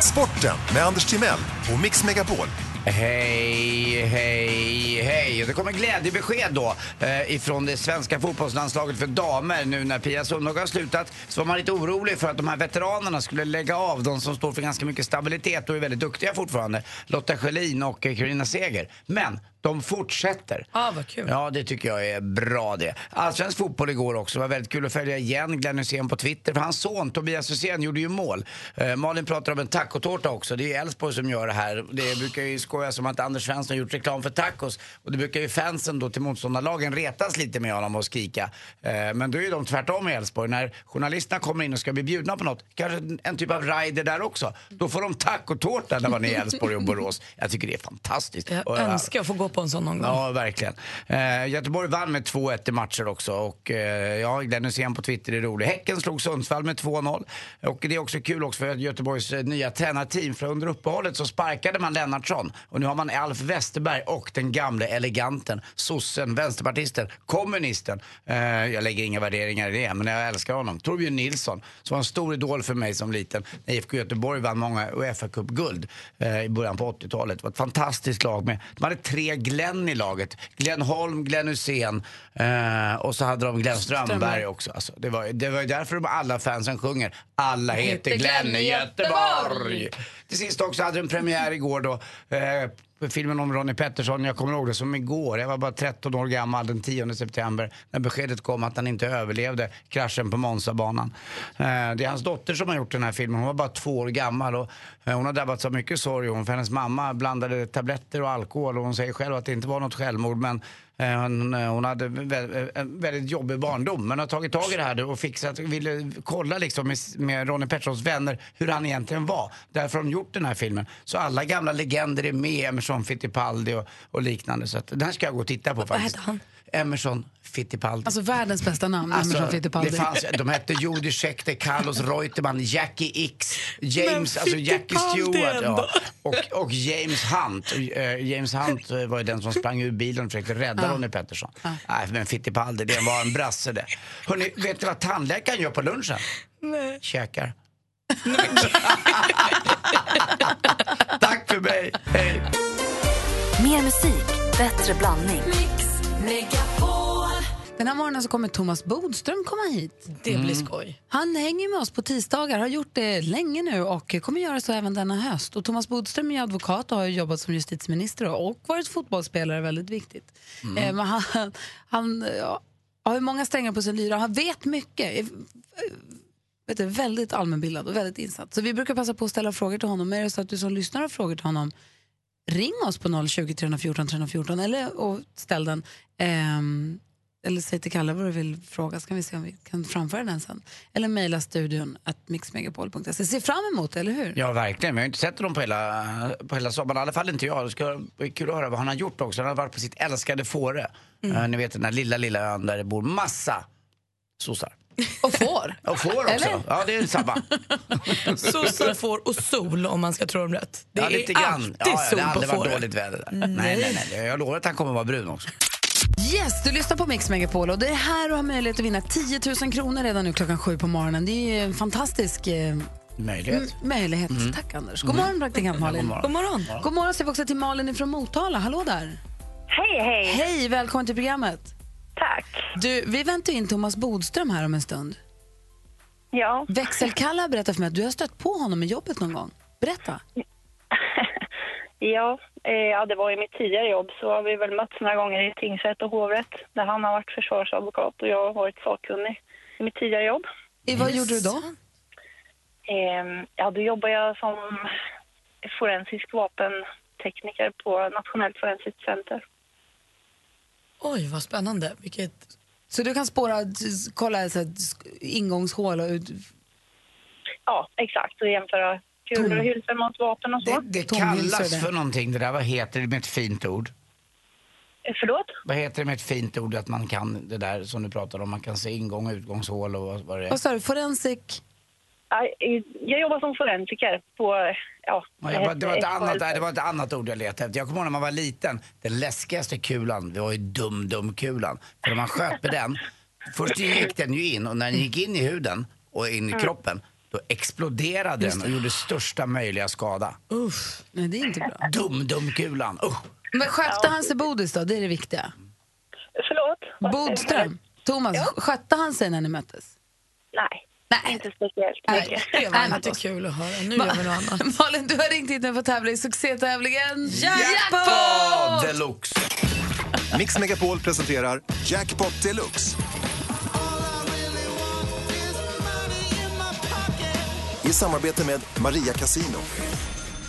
[SPEAKER 8] Sporten med Anders Timell och Mix Megapol.
[SPEAKER 3] Hej, hej, hej. Det kommer glädjebesked då eh, ifrån det svenska fotbollslandslaget för damer nu när Pia Sundhage har slutat. Så var man lite orolig för att de här veteranerna skulle lägga av, de som står för ganska mycket stabilitet och är väldigt duktiga fortfarande. Lotta Schelin och eh, Carina Seger. Men de fortsätter.
[SPEAKER 2] Ah, vad kul.
[SPEAKER 3] Ja, det tycker jag är bra det. Allsvensk fotboll igår också. Det var väldigt kul att följa igen Glenn Hysén på Twitter. För hans son Tobias Hysén gjorde ju mål. Eh, Malin pratar om en tacotårta också. Det är Elfsborg som gör det här. Det brukar ju skojas om att Anders Svensson gjort reklam för tacos. Och det brukar ju fansen då till motståndarlagen retas lite med honom och skrika. Eh, men då är ju de tvärtom i Elfsborg. När journalisterna kommer in och ska bli bjudna på något, kanske en typ av rider där också. Då får de tacotårta när man är i Elfsborg och Borås. Jag tycker det är fantastiskt.
[SPEAKER 2] Jag
[SPEAKER 3] Och, eh,
[SPEAKER 2] önskar att få gå på en sån någon gång.
[SPEAKER 3] Ja, verkligen. Eh, Göteborg vann med 2-1 i matcher också. Och eh, ja, Glenn Hysén på Twitter är rolig. Häcken slog Sundsvall med 2-0. Och det är också kul också för Göteborgs eh, nya tränarteam. För under uppehållet så sparkade man Lennartsson. Och nu har man Alf Westerberg och den gamle eleganten, sossen, vänsterpartisten, kommunisten. Eh, jag lägger inga värderingar i det, men jag älskar honom. Torbjörn Nilsson, som var en stor idol för mig som liten. När IFK Göteborg vann många Uefa-cupguld eh, i början på 80-talet. Det var ett fantastiskt lag med, de hade tre Glenn i laget. Glenn Holm, Glenn Hussein eh, och så hade de Glenn Strömberg, också. Alltså, det, var, det var ju därför de alla fansen sjunger Alla heter Glenn i Göteborg. Till sist också hade de premiär igår då. Eh, Filmen om Ronnie Pettersson, jag kommer ihåg det som igår. Jag var bara 13 år gammal den 10 september när beskedet kom att han inte överlevde kraschen på Monzabanan. Eh, det är hans dotter som har gjort den här filmen. Hon var bara två år gammal och eh, hon har drabbats av mycket sorg. Hon, för hennes mamma blandade tabletter och alkohol och hon säger själv att det inte var något självmord men eh, hon, eh, hon hade vä- eh, en väldigt jobbig barndom men har tagit tag i det här nu och fixat, ville kolla liksom med, med Ronnie Petterssons vänner hur han egentligen var. Därför har de gjort den här filmen. Så alla gamla legender är med, Emerson Fittipaldi och, och liknande. Så att, den här ska jag gå och titta på faktiskt.
[SPEAKER 2] heter han?
[SPEAKER 3] Emerson Fittipaldi.
[SPEAKER 1] Alltså världens bästa namn,
[SPEAKER 3] Alltså,
[SPEAKER 1] Emerson Fittipaldi.
[SPEAKER 3] Det fanns, de hette Judy Schechter, Carlos Reutemann, Jackie X, James,
[SPEAKER 2] Men
[SPEAKER 3] alltså Jackie
[SPEAKER 2] Fittipaldi
[SPEAKER 3] Stewart ja.
[SPEAKER 2] ändå.
[SPEAKER 3] och, och James Hunt. Eh, James Hunt eh, var ju den som sprang ur bilen och försökte rädda Ronnie Pettersson. Nej, men Fittipaldi, det var en brasse det. Hörrni, vet ni vad tandläkaren gör på lunchen? Nej. Käkar. Tack för mig, hej.
[SPEAKER 9] Mer musik, bättre blandning.
[SPEAKER 1] Den här morgonen så kommer Thomas Bodström komma hit.
[SPEAKER 2] Det blir
[SPEAKER 1] Mm.
[SPEAKER 2] skoj.
[SPEAKER 1] Han hänger med oss på tisdagar, har gjort det länge nu och kommer göra så även denna höst. Och Thomas Bodström är advokat och har ju jobbat som justitieminister och varit fotbollsspelare, väldigt viktigt. Eh, men han han ja, har ju många strängar på sin lyra och han vet mycket. Är, eh, vet du, väldigt allmänbildad och väldigt insatt. Så vi brukar passa på att ställa frågor till honom. Men är det så att du som lyssnar har frågor till honom, ring oss på 020 314 314 eller, och ställ den. Ehm, eller säg till Kalle vad du vill fråga så kan vi se om vi kan framföra den sen. Eller mejla studion att mixmegapol.se. Se fram emot det, eller hur?
[SPEAKER 3] Ja, verkligen. Vi har inte sett honom på hela, på hela sommaren. I alla fall inte jag. Det ska bli kul att höra vad han har gjort också. Han har varit på sitt älskade Fårö.
[SPEAKER 1] Mm.
[SPEAKER 3] Eh, ni vet den där lilla, lilla ön där det bor massa sossar.
[SPEAKER 1] Och får.
[SPEAKER 3] Och får också.
[SPEAKER 1] Eller?
[SPEAKER 3] Ja, det är samma.
[SPEAKER 2] Sossar får och sol om man ska tro dem rätt. Det
[SPEAKER 3] ja,
[SPEAKER 2] är alltid
[SPEAKER 3] Ja, ja,
[SPEAKER 2] sol
[SPEAKER 3] Det har
[SPEAKER 2] på
[SPEAKER 3] aldrig varit
[SPEAKER 2] fåret.
[SPEAKER 3] dåligt väder där.
[SPEAKER 1] Mm.
[SPEAKER 3] Nej. nej, nej, Jag lovar att han kommer vara brun också.
[SPEAKER 1] Yes, du lyssnar på Mix Megapol och det är här du har möjlighet att vinna 10 000 kronor redan nu klockan sju på morgonen. Det är ju en fantastisk eh,
[SPEAKER 3] Möjlighet.
[SPEAKER 1] m- Mm, möjlighet.
[SPEAKER 3] Mm.
[SPEAKER 1] Tack Anders. God morgon praktikant Malin.
[SPEAKER 3] morgon.
[SPEAKER 2] God morgon.
[SPEAKER 1] God morgon säger vi också till Malin från Motala. Hallå där.
[SPEAKER 6] Hej, hej.
[SPEAKER 1] Hej, välkommen till programmet.
[SPEAKER 6] Tack.
[SPEAKER 1] Du, vi väntar in Thomas Bodström här om en stund.
[SPEAKER 6] Ja.
[SPEAKER 1] Växelkalla berättar för mig att du har stött på honom i jobbet någon gång. Berätta.
[SPEAKER 6] ja, eh, ja, det var i mitt tidigare jobb så har vi väl mötts några gånger i tingsrätt och hovrätt där han har varit försvarsadvokat och jag har varit sakkunnig i mitt tidigare jobb.
[SPEAKER 1] I, vad gjorde du då?
[SPEAKER 6] Eh, ja, då jobbar jag som forensisk vapentekniker på Nationellt forensiskt center.
[SPEAKER 2] Oj, vad spännande. Vilket...
[SPEAKER 1] Så du kan spåra, s- kolla så här, sk- ingångshål och ut...
[SPEAKER 6] Ja, exakt. Och jämföra kulor och hylsor mot vapen och
[SPEAKER 3] Det,
[SPEAKER 6] så. Ehm,
[SPEAKER 3] det
[SPEAKER 1] Tomhylsor
[SPEAKER 3] kallas
[SPEAKER 1] det.
[SPEAKER 3] för någonting. Det där, vad heter det med ett fint ord?
[SPEAKER 6] Eh, Förlåt?
[SPEAKER 3] Vad heter det med ett fint ord att man kan det där som du pratar om? Man kan se ingång och utgångshål och vad, vad det är.
[SPEAKER 1] Vad sa du? Forensik?
[SPEAKER 6] Nej, Jag jobbar som forensiker på... Ja,
[SPEAKER 3] Ja, jag bara, det, var ett
[SPEAKER 6] ett
[SPEAKER 3] annat, nej, det
[SPEAKER 6] företag.
[SPEAKER 3] var ett annat ord jag letade efter. Jag kommer ihåg när man var liten. Den läskigaste kulan, det var ju dum-dum-kulan. För när man sköt med den, först gick den ju in och när den gick in i huden och in i
[SPEAKER 1] Mm.
[SPEAKER 3] kroppen, då exploderade den och gjorde största möjliga skada.
[SPEAKER 1] Uff, nej det är inte bra.
[SPEAKER 3] Dum-dum-kulan, usch!
[SPEAKER 1] Men skötte han sig Bodis då? Det är det viktiga.
[SPEAKER 6] Förlåt? Vad-
[SPEAKER 1] Bodström, Thomas, skötte han sig när ni möttes?
[SPEAKER 6] Nej,
[SPEAKER 1] Nej.
[SPEAKER 6] inte speciellt mycket.
[SPEAKER 2] Det var inte kul att höra. Nu gör vi något annat.
[SPEAKER 1] Malin, du har ringt hit nu för att tävla i succétävlingen
[SPEAKER 3] Jackpot deluxe!
[SPEAKER 8] Mix Megapol presenterar Jackpot Deluxe. I samarbete med Maria Casino.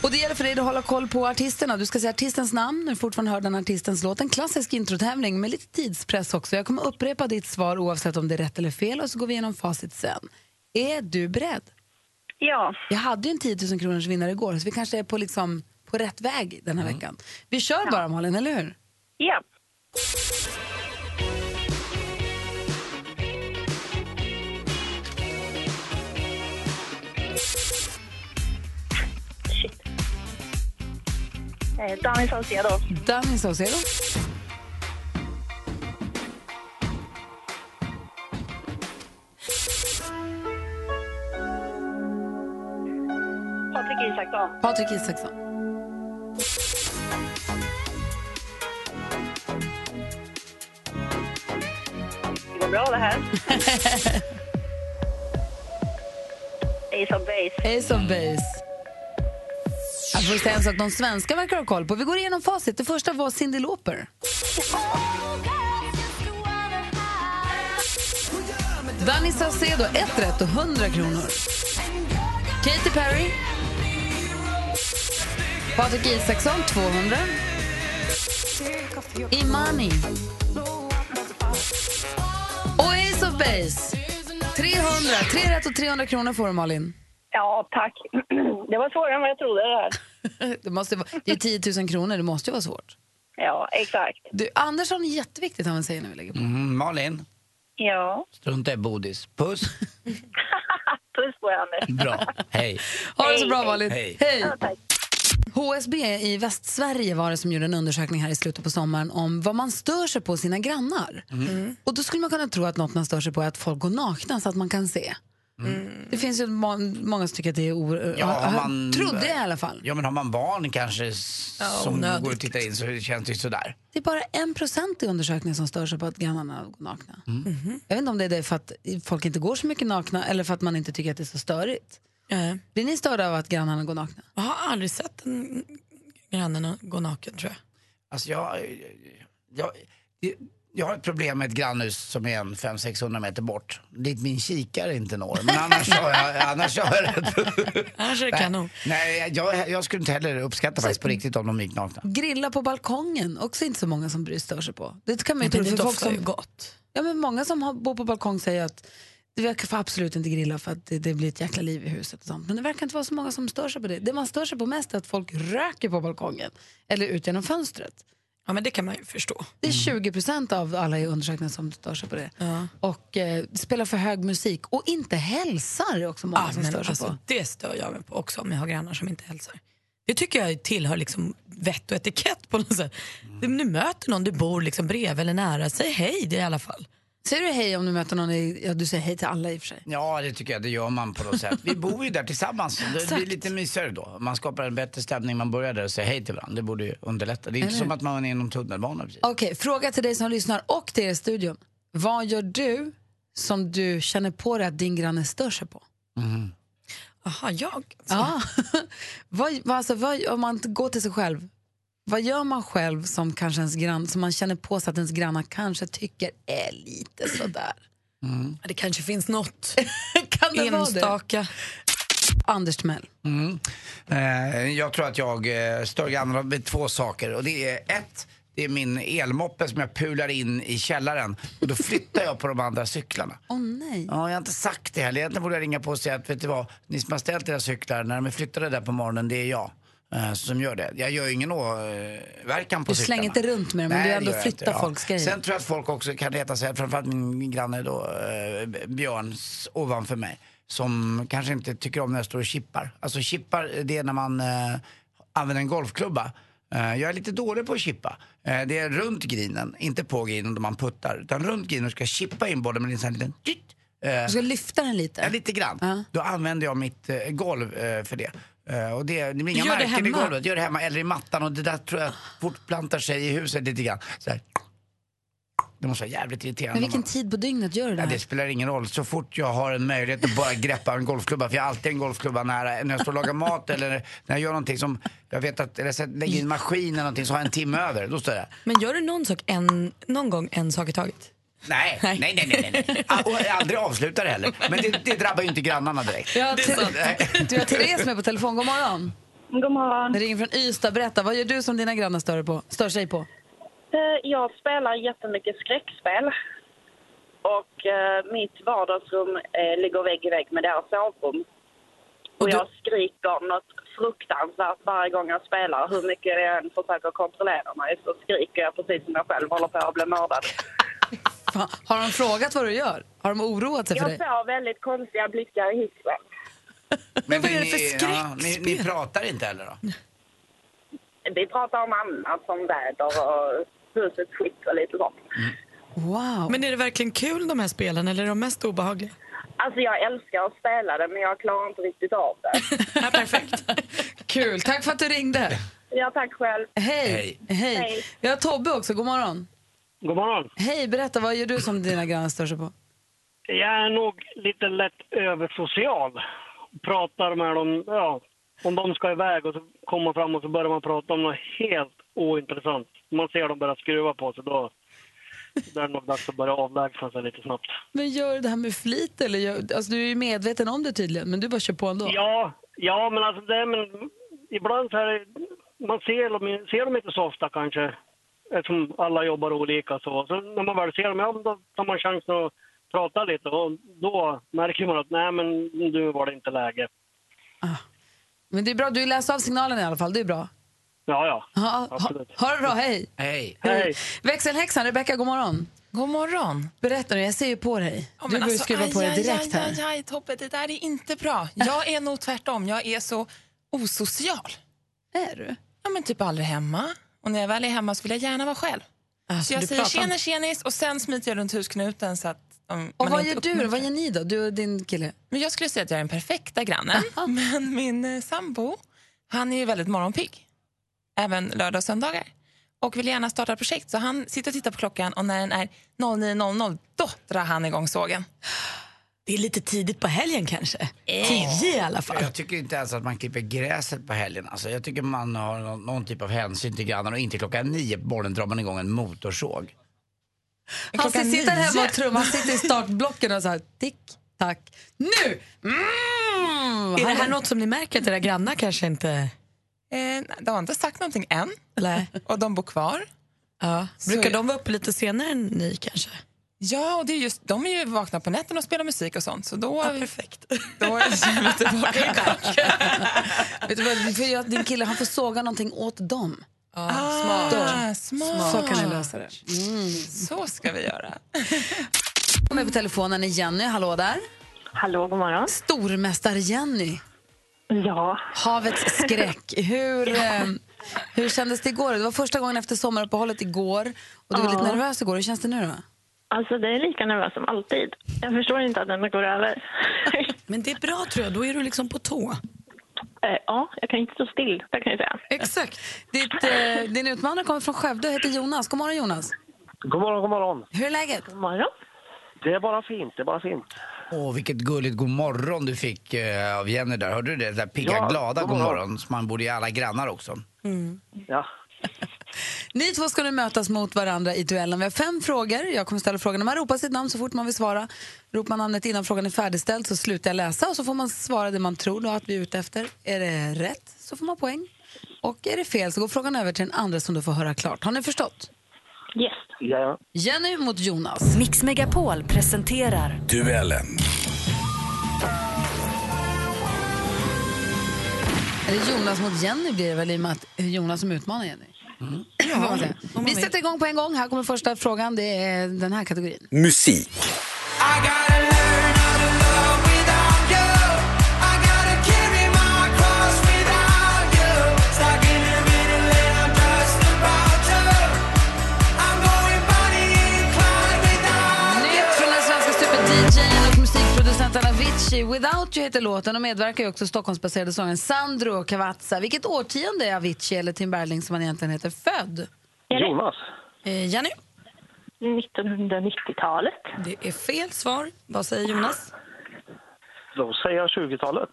[SPEAKER 1] Och det gäller för dig att hålla koll på artisterna. Du ska säga artistens namn när du fortfarande hör den artistens låt. En klassisk introtävling med lite tidspress också. Jag kommer upprepa ditt svar oavsett om det är rätt eller fel och så går vi igenom facit sen. Är du beredd?
[SPEAKER 6] Ja,
[SPEAKER 1] Jag hade ju en 10 000 kronors vinnare igår så vi kanske är på, liksom, på rätt väg den här veckan. Vi kör bara Malin, eller hur?
[SPEAKER 6] ja. Shit. Eh, Danny Saucedo.
[SPEAKER 1] Danny Saucedo.
[SPEAKER 6] Patrik Isaksson.
[SPEAKER 1] Patrik Isaksson.
[SPEAKER 6] Det går bra det här. Ace of Base.
[SPEAKER 1] Ace of Base. Jag får säga en sak, de svenska verkar ha koll på. Vi går igenom facit. Det första var Cyndi Lauper. Danny Saucedo, ett rätt och 100 kronor. Katy Perry. Patrik Isaksson, 200. Imani. Och Ace of Base, 300. Tre rätt och 300 kronor får du, Malin.
[SPEAKER 6] Ja, tack. Det var svårare än vad jag trodde det här.
[SPEAKER 1] Det, måste vara, det är 10 000 kronor, det måste ju vara svårt.
[SPEAKER 6] Ja, exakt.
[SPEAKER 1] Du, Andersson är jätteviktigt han säger när vi lägger på.
[SPEAKER 3] Mm, Malin,
[SPEAKER 6] Ja.
[SPEAKER 3] strunta i bodis. Puss,
[SPEAKER 6] Puss på er, Anders.
[SPEAKER 3] bra, hej.
[SPEAKER 1] Ha det så bra Malin.
[SPEAKER 3] Hej.
[SPEAKER 6] Ja, tack.
[SPEAKER 1] HSB i Västsverige var det som gjorde en undersökning här i slutet på sommaren om vad man stör sig på sina grannar.
[SPEAKER 2] Mm.
[SPEAKER 1] Och då skulle man kunna tro att något man stör sig på är att folk går nakna så att man kan se.
[SPEAKER 3] Mm.
[SPEAKER 1] Det finns ju må- många som tycker att det är o-
[SPEAKER 3] Ja,
[SPEAKER 1] har- har-
[SPEAKER 3] man-
[SPEAKER 1] Trodde jag i alla fall.
[SPEAKER 3] Ja men har man barn kanske s- som
[SPEAKER 2] onödigt.
[SPEAKER 3] går och tittar in så känns det ju sådär.
[SPEAKER 1] Det är bara en procent i undersökningen som stör sig på att grannarna går nakna.
[SPEAKER 3] Mm.
[SPEAKER 2] Mhm.
[SPEAKER 1] Jag vet inte om det är det för att folk inte går så mycket nakna eller för att man inte tycker att det är så störigt.
[SPEAKER 2] Nej.
[SPEAKER 1] Blir ni störda av att grannarna går nakna?
[SPEAKER 2] Jag har aldrig sett en grannen gå naken tror jag.
[SPEAKER 3] Alltså jag, jag, jag, jag har ett problem med ett grannhus som är en 500-600 meter bort. Dit min kikare inte når. Men annars har jag, annars har jag rätt.
[SPEAKER 2] Annars är det kanon.
[SPEAKER 3] Nej, jag, jag skulle inte heller uppskatta faktiskt på riktigt om de gick nakna.
[SPEAKER 1] Grilla på balkongen, också inte så många som bryr stör sig på. Det kan man ju
[SPEAKER 2] Men
[SPEAKER 1] tro.
[SPEAKER 2] det
[SPEAKER 1] För folk
[SPEAKER 2] doftar ju
[SPEAKER 1] som,
[SPEAKER 2] gott.
[SPEAKER 1] ja, men många som har, bor på balkong säger att jag får absolut inte grilla för att det, det blir ett jäkla liv i huset. Och sånt. Men det verkar inte vara så många som stör sig på det. Det man stör sig på mest är att folk röker på balkongen eller ut genom fönstret.
[SPEAKER 2] Ja men det kan man ju förstå.
[SPEAKER 1] Det är
[SPEAKER 2] Mm.
[SPEAKER 1] 20 procent av alla i undersökningen som stör sig på det. Och eh, spelar för hög musik och inte hälsar är också många
[SPEAKER 2] Ja,
[SPEAKER 1] som
[SPEAKER 2] men
[SPEAKER 1] stör sig på.
[SPEAKER 2] alltså, det stör jag mig på också om jag har grannar som inte hälsar. Det tycker jag tillhör liksom vett och etikett på något sätt. Du, du möter någon du bor liksom bredvid eller nära, säg hej det i alla fall.
[SPEAKER 1] Säger du hej om du möter någon? I, ja, du säger hej till alla i och för sig.
[SPEAKER 3] Ja, det tycker jag. Det gör man på något sätt. Vi bor ju där tillsammans. Det blir lite mysigare då. Man skapar en bättre stämning. Man börjar där och säger hej till varandra. Det borde ju underlätta. Det är inte som att man är i någon tunnelbana precis.
[SPEAKER 1] Okej, fråga till dig som lyssnar och till er i studion. Vad gör du som du känner på dig att din granne stör sig på?
[SPEAKER 3] Mm.
[SPEAKER 2] Jaha, jag?
[SPEAKER 1] Ja. vad, vad, alltså, vad, om man går till sig själv, vad gör man själv som, kanske ens grann, som man känner på sig att ens grannar kanske tycker är lite sådär?
[SPEAKER 3] Mm.
[SPEAKER 2] Det kanske finns något
[SPEAKER 1] kan det vara det?
[SPEAKER 2] enstaka.
[SPEAKER 1] Anders Timell.
[SPEAKER 3] Mm. Eh, Jag tror att jag eh, stör grannarna med två saker. Och det är ett, det är min elmoppe som jag pular in i källaren. Och då flyttar jag på de andra cyklarna.
[SPEAKER 1] Åh nej.
[SPEAKER 3] Ja, jag har inte sagt det heller. Egentligen borde jag ringa på och säga att vet du vad, ni som har ställt era cyklar, när de är flyttade där på morgonen, det är jag eh, som gör det. Jag gör ju ingen åverkan på
[SPEAKER 1] Du slänger
[SPEAKER 3] cyklarna.
[SPEAKER 1] inte runt med dem, men du
[SPEAKER 3] det
[SPEAKER 1] ändå
[SPEAKER 3] gör jag
[SPEAKER 1] flyttar
[SPEAKER 3] inte,
[SPEAKER 1] folks grejer.
[SPEAKER 3] Sen tror jag att folk också kan reta sig, framförallt min granne då, eh, Björn s- ovanför mig, som kanske inte tycker om när jag står och chippar. Alltså chippar, det är när man eh, använder en golfklubba. Eh, jag är lite dålig på att chippa. Eh, det är runt grinen, inte på grinen där man puttar. Utan runt grinen ska jag chippa in bollen med en sån här liten... tjitt. Eh,
[SPEAKER 1] Du ska lyfta den lite.
[SPEAKER 3] Ja, lite grann. Då använder jag mitt eh, golv eh, för det. Eh, och det, det blir inga
[SPEAKER 1] Gör det
[SPEAKER 3] märken i
[SPEAKER 1] hemma?
[SPEAKER 3] golvet. Gör det hemma eller i mattan och det där tror jag fortplantar sig i huset lite grann. Så här. Det måste vara jävligt irriterande.
[SPEAKER 1] Men vilken tid på dygnet gör du det
[SPEAKER 3] Ja, det
[SPEAKER 1] här?
[SPEAKER 3] spelar ingen roll. Så fort jag har en möjlighet att bara greppa en golfklubba, för jag har alltid en golfklubba nära. När jag står och lagar mat eller när jag gör någonting som, jag vet att, eller jag sätter- lägger in maskin eller någonting så har jag en timme över. Då står jag
[SPEAKER 2] Men gör du någon, sak en, någon gång en sak i taget?
[SPEAKER 3] Nej, nej, nej, nej. nej, nej. Ah, Och jag aldrig avslutar det heller. Men det, det drabbar ju inte grannarna direkt.
[SPEAKER 1] Vi har,
[SPEAKER 2] Det är sant.
[SPEAKER 1] Te- du har Therese med på telefon. God morgon.
[SPEAKER 5] God morgon.
[SPEAKER 1] Det ringer från Ystad. Berätta, vad gör du som dina grannar stör, på, stör sig på?
[SPEAKER 5] Eh, Jag spelar jättemycket skräckspel. Och eh, mitt vardagsrum eh, ligger vägg i vägg med deras sovrum. Och, jag skriker något fruktansvärt varje gång jag spelar. Hur mycket jag än försöker kontrollera mig så skriker jag precis som jag själv håller på att bli mördad.
[SPEAKER 1] Fan, har de frågat vad du gör? Har de oroat sig för
[SPEAKER 5] Jag
[SPEAKER 1] dig?
[SPEAKER 5] får väldigt konstiga blickar i hissen.
[SPEAKER 3] Men
[SPEAKER 2] vad är det
[SPEAKER 3] ni-
[SPEAKER 2] för
[SPEAKER 3] ni,
[SPEAKER 2] skräckspel?
[SPEAKER 3] ni pratar inte heller då?
[SPEAKER 5] Vi pratar om annat som väder och husets skick och lite sånt.
[SPEAKER 1] Wow.
[SPEAKER 2] Men är det verkligen kul de här spelen eller är de mest obehagliga?
[SPEAKER 5] Alltså jag älskar att spela det men jag klarar inte riktigt av det.
[SPEAKER 2] Ja, perfekt.
[SPEAKER 1] Kul. Tack för att du ringde.
[SPEAKER 5] Ja, tack själv.
[SPEAKER 1] Hej. Hej.
[SPEAKER 5] Hej.
[SPEAKER 1] Vi har Tobbe också. God morgon.
[SPEAKER 10] God morgon.
[SPEAKER 1] Hej, berätta, vad gör du som dina grannar stör sig på?
[SPEAKER 10] Jag är nog lite lätt översocial. Pratar med dem, ja, om de ska iväg och så kommer man fram och så börjar man prata om något helt ointressant. Man ser dem börja skruva på sig, då då är det nog dags att börja avlägsna sig lite snabbt.
[SPEAKER 1] Men gör du det här med flit? Eller gör, alltså, du är ju medveten om det tydligen, men du bara kör på ändå.
[SPEAKER 10] Ja, ja men alltså det, men ibland så är det, man ser dem, ser dem inte så ofta kanske, eftersom alla jobbar olika så. Så när man väl ser dem, ja, men då tar man chansen att prata lite och då märker man att nej men nu var det inte läge.
[SPEAKER 1] Men det är bra, du läser av signalen i alla fall. Det är bra.
[SPEAKER 10] Ja, ja.
[SPEAKER 1] Ha, ha,
[SPEAKER 10] Absolut.
[SPEAKER 1] ha det bra, hej.
[SPEAKER 3] Hej.
[SPEAKER 10] Hej.
[SPEAKER 1] Växelhäxan, Rebecka, god morgon.
[SPEAKER 2] God morgon. alltså,
[SPEAKER 1] Berätta nu, jag ser ju på dig. Du börjar skruva på dig direkt här.
[SPEAKER 2] Aj, aj, Tobbe, det där är inte bra. Jag är nog tvärtom. Jag är så osocial.
[SPEAKER 1] Är du?
[SPEAKER 2] Ja, men typ aldrig hemma. Och när jag väl är hemma så vill jag gärna vara själv.
[SPEAKER 1] Alltså,
[SPEAKER 2] så jag säger tjena tjenis och sen smiter jag runt husknuten så att um,
[SPEAKER 1] Och vad gör du då? Vad gör ni då? Du och din kille?
[SPEAKER 2] Men jag skulle säga att jag är den perfekta grannen. Men min eh, sambo, han är ju väldigt morgonpigg. Även lördag och söndagar. Och vill gärna starta projekt. Så han sitter och tittar på klockan och när den är 09.00 då drar han igång sågen.
[SPEAKER 1] Det är lite tidigt på helgen kanske.
[SPEAKER 2] Eh.
[SPEAKER 1] Tio i alla fall.
[SPEAKER 3] Jag tycker inte ens att man klipper gräset på helgen. Alltså, jag tycker man har någon, någon typ av hänsyn till grannarna och inte klockan nio på morgonen drar man igång en motorsåg.
[SPEAKER 1] Han
[SPEAKER 2] Klockan
[SPEAKER 1] sitter
[SPEAKER 2] nio.
[SPEAKER 1] hemma och trummar, han sitter i startblocken och så här, tick, tack, nu! Mm!
[SPEAKER 2] Är det
[SPEAKER 1] Han-
[SPEAKER 2] här något som ni märker att era grannar kanske inte... de har inte sagt någonting än. Och de bor kvar. Ja. Brukar de vara uppe lite senare än ni kanske? Ja, och det är just, de är ju vakna på nätterna och spelar musik och sånt. Så då, perfekt. Då är vi tillbaka.
[SPEAKER 1] Vet du vad, vi får göra- din kille han får såga någonting åt dem.
[SPEAKER 2] smart.
[SPEAKER 1] Då.
[SPEAKER 2] Ah, smart.
[SPEAKER 1] Så kan ni lösa det. Mm.
[SPEAKER 2] Så ska vi göra.
[SPEAKER 1] Kom med på telefonen är Jenny, hallå där.
[SPEAKER 6] Hallå, god morgon.
[SPEAKER 1] Stormästare Jenny,
[SPEAKER 6] Ja,
[SPEAKER 1] havets skräck. Hur, eh, hur kändes det igår? Det var första gången efter sommaruppehållet igår och du var lite
[SPEAKER 6] Ja.
[SPEAKER 1] nervös igår. Hur känns det nu då?
[SPEAKER 6] alltså det är lika nervös som alltid. Jag förstår inte att den går över.
[SPEAKER 2] Men det är bra tror jag, då är du liksom på tå.
[SPEAKER 6] Eh, ja, jag kan inte stå still, det kan jag säga.
[SPEAKER 1] Exakt. Ditt, eh, din utmanare kommer från Skövde och heter Jonas. God morgon Jonas.
[SPEAKER 10] God morgon, god morgon.
[SPEAKER 1] Hur är läget?
[SPEAKER 6] God morgon.
[SPEAKER 10] Det är bara fint, det är bara fint.
[SPEAKER 3] Åh, vilket gulligt god morgon du fick eh, av Jenny där. Hörde du det? Det där pigga,
[SPEAKER 10] Ja,
[SPEAKER 3] glada
[SPEAKER 10] god
[SPEAKER 3] god
[SPEAKER 10] morgon.
[SPEAKER 3] morgon som man borde ge alla grannar också.
[SPEAKER 1] Mm.
[SPEAKER 10] Ja.
[SPEAKER 1] Ni två ska nu mötas mot varandra i duellen. Vi har fem frågor. Jag kommer ställa frågorna. Man ropar sitt namn så fort man vill svara. Ropar man namnet innan frågan är färdigställd så slutar jag läsa och så får man svara det man tror då att vi är ute efter. Är det rätt så får man poäng. Och är det fel så går frågan över till den andra som du får höra klart. Har ni förstått?
[SPEAKER 6] Yes.
[SPEAKER 10] ja.
[SPEAKER 1] Jenny mot Jonas.
[SPEAKER 9] Mix Megapol presenterar
[SPEAKER 1] Eller Jonas mot Jenny blir det väl i och med att det är Jonas som utmanar Jenny. Får man säga. Vi sätter igång på en gång. Här kommer första frågan. Det är den här kategorin.
[SPEAKER 3] I gotta learn how to love without you.
[SPEAKER 1] Avicii, Without You heter låten och medverkar ju också Stockholmsbaserade sångaren Sandro Cavazza. Vilket årtionde är Avicii, eller Tim Bergling som han egentligen heter, född?
[SPEAKER 11] Jonas.
[SPEAKER 2] Eh, Jenny?
[SPEAKER 11] 1990-talet.
[SPEAKER 2] Det är fel svar. Vad säger Jonas?
[SPEAKER 11] Då säger jag 20-talet.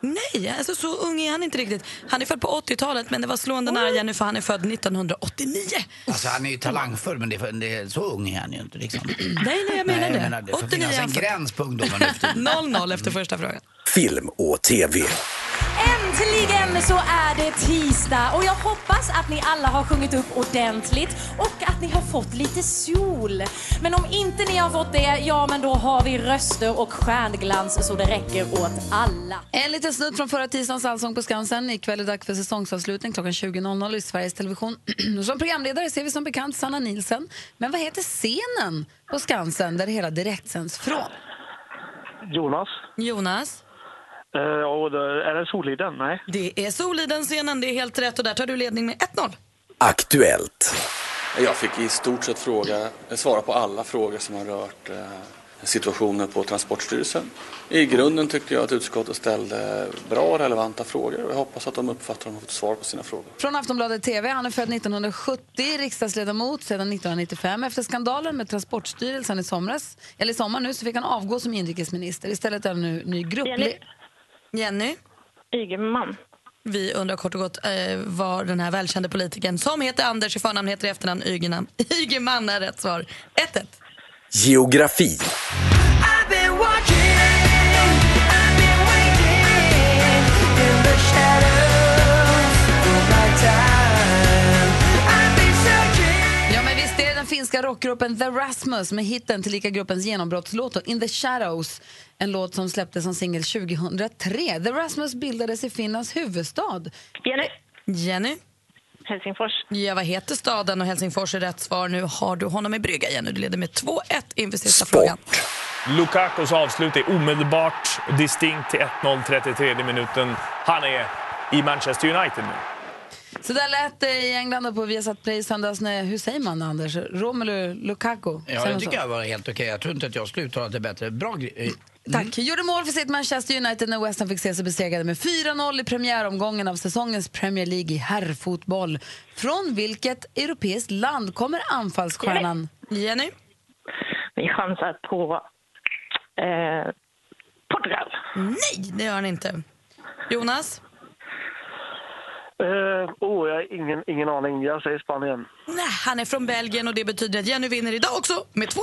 [SPEAKER 2] Nej, alltså så ung är han inte riktigt. Han är född på 80-talet, men det var slående nära Jenny för han är född 1989.
[SPEAKER 3] Alltså han är ju talangfull men det, är- det är så ung är han ju inte liksom.
[SPEAKER 2] Nej, nej, jag menar det.
[SPEAKER 3] det får finnas en
[SPEAKER 2] 89.
[SPEAKER 3] gräns på ungdomen nu för tiden.
[SPEAKER 2] 0-0 efter första frågan.
[SPEAKER 12] Film och TV.
[SPEAKER 13] Äntligen så är det tisdag och jag hoppas att ni alla har sjungit upp ordentligt och att ni har fått lite sol. Men om inte ni har fått det, ja men då har vi röster och stjärnglans så det räcker åt alla.
[SPEAKER 1] En liten snutt från förra tisdagens Allsång på Skansen. Ikväll är det dags för säsongsavslutning klockan 20.00 i Sveriges Television. Och som programledare ser vi som bekant Sanna Nilsen. Men vad heter scenen på Skansen där det hela direktsänds från?
[SPEAKER 11] Jonas.
[SPEAKER 2] Jonas?
[SPEAKER 11] Eh, ja, och det- är det Soliden? Nej.
[SPEAKER 2] Det är Soliden-scenen, det är helt rätt och där tar du ledning med 1-0.
[SPEAKER 12] Aktuellt.
[SPEAKER 14] Jag fick i stort sett fråga, svara på alla frågor som har rört eh, situationen på Transportstyrelsen. I grunden tyckte jag att utskottet ställde bra och relevanta frågor och jag hoppas att de uppfattar att de har fått svar på sina frågor.
[SPEAKER 1] Från Aftonbladet TV. Han är född 1970, riksdagsledamot sedan 1995. Efter skandalen med Transportstyrelsen i somras, eller i sommar nu, så fick han avgå som inrikesminister. Istället är han nu ny grupp...
[SPEAKER 2] Jenny. Jenny?
[SPEAKER 11] Ygeman.
[SPEAKER 2] Vi undrar kort och gott eh, var den här välkände politikern som heter Anders i förnamn heter i efternamn Ygeman. Ygeman är rätt svar. 1-1.
[SPEAKER 12] Geografi.
[SPEAKER 1] Ja, men visst är det den finska rockgruppen The Rasmus med hitten tillika gruppens genombrottslåt då, In the Shadows. En låt som släpptes som singel 2003. The Rasmus bildades i Finlands huvudstad.
[SPEAKER 11] Jenny.
[SPEAKER 2] Jenny?
[SPEAKER 11] Helsingfors.
[SPEAKER 2] Ja, vad heter staden? Och Helsingfors är rätt svar. Nu har du honom i brygga, Jenny. Du leder med 2-1 inför sista frågan.
[SPEAKER 15] Lukakos avslut är omedelbart distinkt till 1-0 33 minuten. Han är i Manchester United nu.
[SPEAKER 1] Så där lät det i England och på Viasat Play i söndags när, hur säger man Anders? Romelu Lukaku?
[SPEAKER 3] Ja,
[SPEAKER 1] Säger
[SPEAKER 3] det
[SPEAKER 1] man så?
[SPEAKER 3] tycker jag var helt okej. Jag tror inte att jag skulle uttala det bättre. Bra eh, grej.
[SPEAKER 1] Tack. Gjorde mål för sitt Manchester United när West Ham fick se sig besegrade med 4-0 i premiäromgången av säsongens Premier League i herrfotboll. Från vilket europeiskt land kommer anfallsstjärnan?
[SPEAKER 2] Jenny?
[SPEAKER 11] Vi chansar på eh, Portugal.
[SPEAKER 2] Nej, det gör han inte. Jonas?
[SPEAKER 10] Eh, oh, jag har ingen, ingen aning. Jag säger Spanien.
[SPEAKER 2] Nej, han är från Belgien och det betyder att Jenny vinner idag också med 2-1.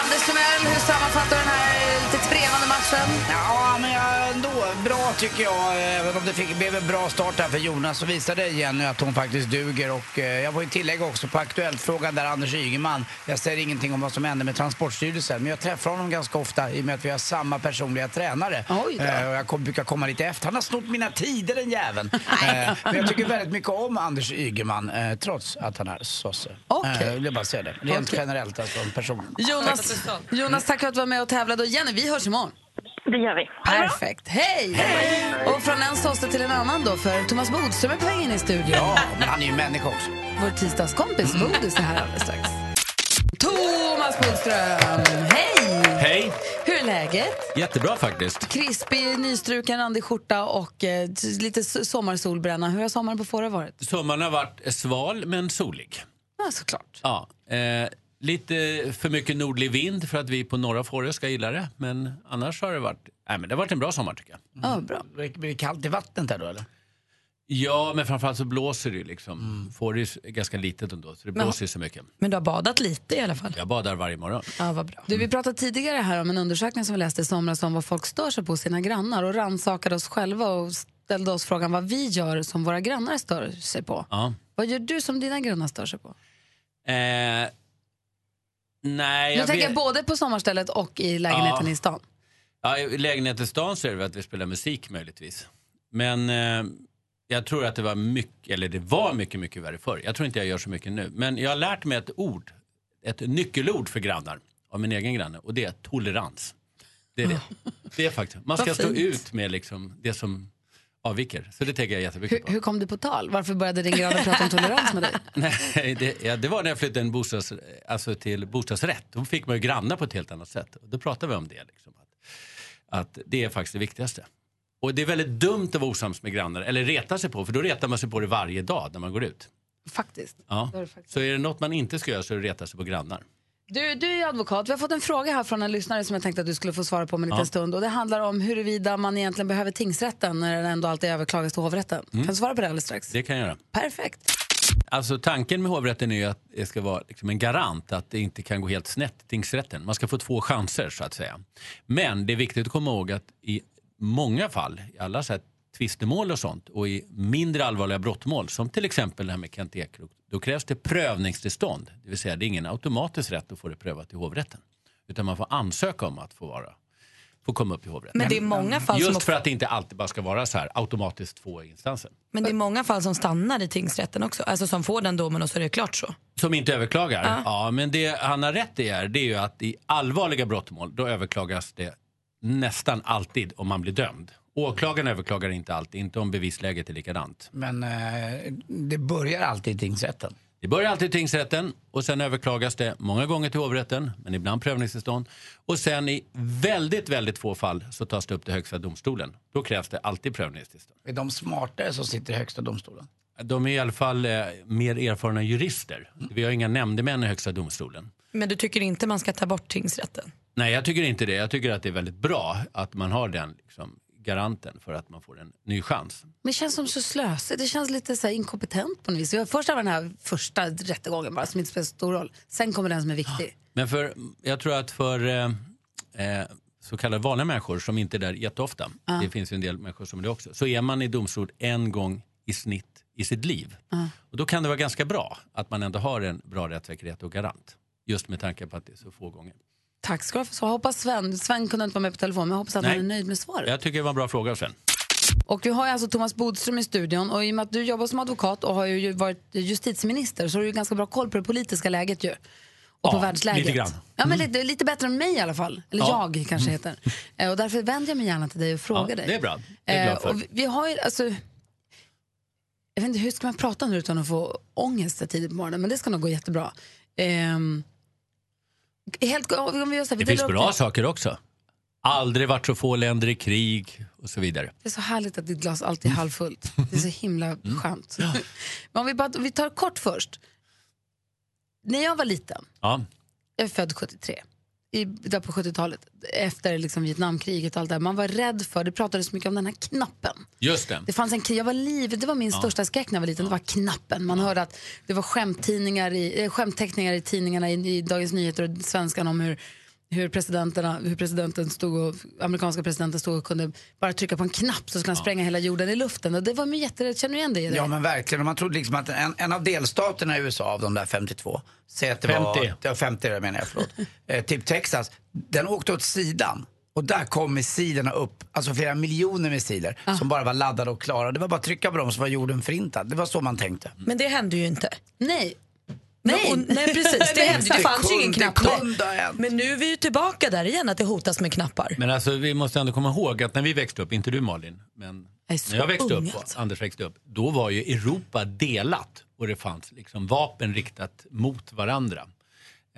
[SPEAKER 1] Anders Timell, hur sammanfattar du den här lite trevande matchen?
[SPEAKER 3] Ja, men jag- ändå bra tycker jag. Även om det fick, blev en bra start här för Jonas så visade Jenny att hon faktiskt duger. Och eh, jag får ju tillägga också på Aktuellt-frågan där Anders Ygeman, jag säger ingenting om vad som hände med Transportstyrelsen, men jag träffar honom ganska ofta i och med att vi har samma personliga tränare.
[SPEAKER 1] Oj då.
[SPEAKER 3] Eh, och jag kom, brukar komma lite efter. Han har snott mina tider den jäveln. eh, men jag tycker väldigt mycket om Anders Ygeman eh, trots att han är sosse.
[SPEAKER 1] Okej.
[SPEAKER 3] Eh, jag vill bara säga det. Rent
[SPEAKER 1] Okej.
[SPEAKER 3] generellt alltså om person.
[SPEAKER 1] Jonas, Jonas, tack för att du var med och tävlade. Och Jenny, vi hörs imorgon.
[SPEAKER 11] Det gör vi.
[SPEAKER 1] Perfekt. Hej! Och från en sosse till en annan då, för Thomas Bodström är på väg in i studion.
[SPEAKER 3] Ja, men han är ju människa också.
[SPEAKER 1] Vår tisdagskompis Bodis är här alldeles strax. Thomas Bodström, hej!
[SPEAKER 16] Hej!
[SPEAKER 1] Hur är läget?
[SPEAKER 16] Jättebra faktiskt.
[SPEAKER 1] Krispig, nystruken, randig skjorta och eh, t- lite s- sommarsolbränna. Hur har sommaren på Fårö varit?
[SPEAKER 16] Sommaren har varit sval men solig.
[SPEAKER 1] Ja, såklart.
[SPEAKER 16] Ja, eh, lite för mycket nordlig vind för att vi på norra Fårö ska gilla det. Men annars har det varit, nej, men det har varit en bra sommar tycker jag.
[SPEAKER 1] Ja, bra.
[SPEAKER 3] Blir blir Mm. det kallt i vattnet där då eller?
[SPEAKER 16] Ja, men framförallt så blåser det ju liksom. Fårö är ganska litet ändå så det
[SPEAKER 1] Men-
[SPEAKER 16] blåser ju så mycket.
[SPEAKER 2] Mm. Men du har badat lite i alla fall.
[SPEAKER 16] Jag badar varje morgon.
[SPEAKER 2] Ja, vad bra.
[SPEAKER 1] Du, vi pratade tidigare här om en undersökning som vi läste i somras om vad folk stör sig på hos sina grannar och rannsakade oss själva och ställde oss frågan vad vi gör som våra grannar stör sig på.
[SPEAKER 16] Ja.
[SPEAKER 1] Vad gör du som dina grannar stör sig på?
[SPEAKER 16] Eh, nej,
[SPEAKER 1] Nu tänker
[SPEAKER 16] vet-
[SPEAKER 1] jag både på sommarstället och i lägenheten
[SPEAKER 16] Ja.
[SPEAKER 1] i stan.
[SPEAKER 16] Ja, I lägenheten i stan så är det väl att vi spelar musik möjligtvis. Men eh, jag tror att det var mycket, eller det var mycket, mycket värre förr. Jag tror inte jag gör så mycket nu. Men jag har lärt mig ett ord, ett nyckelord för grannar av min egen granne och det är tolerans. Det är det. Det är faktiskt. Man ska
[SPEAKER 17] Vad
[SPEAKER 16] stå
[SPEAKER 17] fint.
[SPEAKER 16] ut med liksom det som avviker. Så det tänker jag jättemycket
[SPEAKER 18] Hur, hur kom du på tal? Varför började din granne prata om tolerans med dig?
[SPEAKER 16] Nej, det, ja, det var när jag flyttade en bostads, alltså till bostadsrätt. Då fick man ju grannar på ett helt annat sätt. Och då pratade vi om det. Liksom, att, att det är faktiskt det viktigaste. Och det är väldigt dumt att vara osams med grannar, eller reta sig på, för då retar man sig på det varje dag när man går ut.
[SPEAKER 1] Faktiskt.
[SPEAKER 16] Ja.
[SPEAKER 1] Det är det faktiskt.
[SPEAKER 16] Så är det något man inte ska göra så är det reta sig på grannar.
[SPEAKER 1] Du, du är ju advokat. Vi har fått en fråga här från en lyssnare som jag tänkte att du skulle få svara på om en liten
[SPEAKER 16] Ja.
[SPEAKER 1] stund. Och det handlar om huruvida man egentligen behöver tingsrätten när den ändå alltid överklagas till hovrätten.
[SPEAKER 16] Mm.
[SPEAKER 1] Kan du svara på det alldeles strax?
[SPEAKER 16] Det kan jag göra.
[SPEAKER 1] Perfekt.
[SPEAKER 16] Alltså tanken med hovrätten är ju att det ska vara liksom en garant att det inte kan gå helt snett i tingsrätten. Man ska få två chanser så att säga. Men det är viktigt att komma ihåg att i många fall, i alla så här tvistemål och sånt och i mindre allvarliga brottmål som till exempel det här med Kent Ekeroth, då krävs det prövningstillstånd. Det vill säga det är ingen automatisk rätt att få det prövat i hovrätten. Utan man får ansöka om att få vara få komma upp i hovrätten.
[SPEAKER 2] Men det är många fall som
[SPEAKER 16] Just
[SPEAKER 2] också-
[SPEAKER 16] för att det inte alltid bara ska vara så här automatiskt två instanser.
[SPEAKER 2] Men det är många fall som stannar i tingsrätten också. Alltså som får den domen och så är det klart så.
[SPEAKER 16] Som inte överklagar?
[SPEAKER 2] Ja.
[SPEAKER 16] Ja. men det han har rätt i är, det är ju att i allvarliga brottmål då överklagas det nästan alltid om man blir dömd. Åklagaren överklagar inte alltid, inte om bevisläget är likadant.
[SPEAKER 3] Men eh, det börjar alltid i tingsrätten.
[SPEAKER 16] Det börjar alltid i tingsrätten och sen överklagas det många gånger till hovrätten, men ibland prövningstillstånd. Och sen i väldigt, väldigt få fall så tas det upp till Högsta domstolen. Då krävs det alltid prövningstillstånd.
[SPEAKER 3] Är de smartare som sitter i Högsta domstolen?
[SPEAKER 16] De är i alla fall eh, mer erfarna jurister. Vi har inga nämndemän i Högsta domstolen.
[SPEAKER 2] Men du tycker inte man ska ta bort tingsrätten?
[SPEAKER 16] Nej, jag tycker inte det. Jag tycker att det är väldigt bra att man har den liksom, garanten för att man får en ny chans.
[SPEAKER 1] Men det känns som så slösigt. Det känns lite så här inkompetent på något vis. Vi har först har vi den här första rättegången bara som inte spelar så stor roll. Sen kommer den som är viktig.
[SPEAKER 16] Men för, jag tror att för eh, eh, så kallade vanliga människor som inte är där jätteofta,
[SPEAKER 1] Ja.
[SPEAKER 16] det finns ju en del människor som är det också, så är man i domstol en gång i snitt i sitt liv.
[SPEAKER 1] Ja.
[SPEAKER 16] Och då kan det vara ganska bra att man ändå har en bra rättssäkerhet och garant. Just med tanke på att det är så få gånger.
[SPEAKER 1] Tack ska du ha för svar. Hoppas Sven, Sven kunde inte vara med på telefon men jag hoppas att
[SPEAKER 16] Nej.
[SPEAKER 1] han är nöjd med svaret.
[SPEAKER 16] Jag tycker det var en bra fråga Sven.
[SPEAKER 1] Och vi har ju alltså Thomas Bodström i studion och i och med att du jobbar som advokat och har ju varit justitieminister så har du ju ganska bra koll på det politiska läget ju. Och på
[SPEAKER 16] Ja,
[SPEAKER 1] världsläget.
[SPEAKER 16] lite grann. Mm.
[SPEAKER 1] Ja, men lite, lite bättre än mig i alla fall. Eller
[SPEAKER 16] Ja. Mm.
[SPEAKER 1] jag kanske heter. Eh, Och därför vänder jag mig gärna till dig och frågar
[SPEAKER 16] Ja,
[SPEAKER 1] dig.
[SPEAKER 16] det är bra. Det är jag glad
[SPEAKER 1] Eh, och
[SPEAKER 16] för.
[SPEAKER 1] vi, vi har ju, alltså, jag vet inte, hur ska man prata nu utan att få ångest så tidigt på morgonen? Men det ska nog gå jättebra. Ehm, helt, om vi gör så här, vi
[SPEAKER 16] Det finns
[SPEAKER 1] delar upp
[SPEAKER 16] bra saker också. Aldrig varit så få länder i krig och så vidare.
[SPEAKER 1] Det är så härligt att ditt glas alltid är halvfullt. Det är så himla skönt. Men om vi, bara, vi tar kort först. När jag var liten,
[SPEAKER 16] Ja.
[SPEAKER 1] jag är född 73, i, där på 70-talet, efter liksom Vietnamkriget och allt det här, man var rädd för, det pratades mycket om den här knappen.
[SPEAKER 16] Just det.
[SPEAKER 1] Det fanns en kniv, jag var livet, det var min
[SPEAKER 16] Ja.
[SPEAKER 1] största skräck när jag var liten, det var knappen. Man hörde att det var skämttidningar i, eh, skämtteckningar i tidningarna i, i Dagens Nyheter och Svenskan om hur hur, presidenterna, hur presidenten stod och, amerikanska presidenten stod och kunde bara trycka på en knapp så skulle han spränga hela jorden i luften. Och det var mig jätterädd. Känner du igen det? i det?
[SPEAKER 3] Ja men verkligen. Och man trodde liksom att en, en av delstaterna i USA av de där 52, säg att det
[SPEAKER 16] 50.
[SPEAKER 3] var... Ja, 50 det menar jag, förlåt. eh, typ Texas, den åkte åt sidan. Och där kom missilerna upp, alltså flera miljoner missiler
[SPEAKER 2] Ah.
[SPEAKER 3] som bara var laddade och klara. Det var bara att trycka på dem så var jorden förintad. Det var så man tänkte.
[SPEAKER 2] Men det hände ju inte.
[SPEAKER 1] Nej.
[SPEAKER 2] Nej, och, nej precis. Det, hände, det
[SPEAKER 3] Exakt.
[SPEAKER 2] fanns ju ingen
[SPEAKER 3] Kunde-
[SPEAKER 2] knapp
[SPEAKER 3] kunde
[SPEAKER 2] då. Men nu är vi ju tillbaka där igen att det hotas med knappar.
[SPEAKER 16] Men alltså, vi måste ändå komma ihåg att när vi växte upp, inte du Malin, men
[SPEAKER 2] Jag är så
[SPEAKER 16] när jag växte
[SPEAKER 2] ung,
[SPEAKER 16] upp,
[SPEAKER 2] alltså.
[SPEAKER 16] och Anders växte upp, då var ju Europa delat och det fanns liksom vapen riktat mot varandra.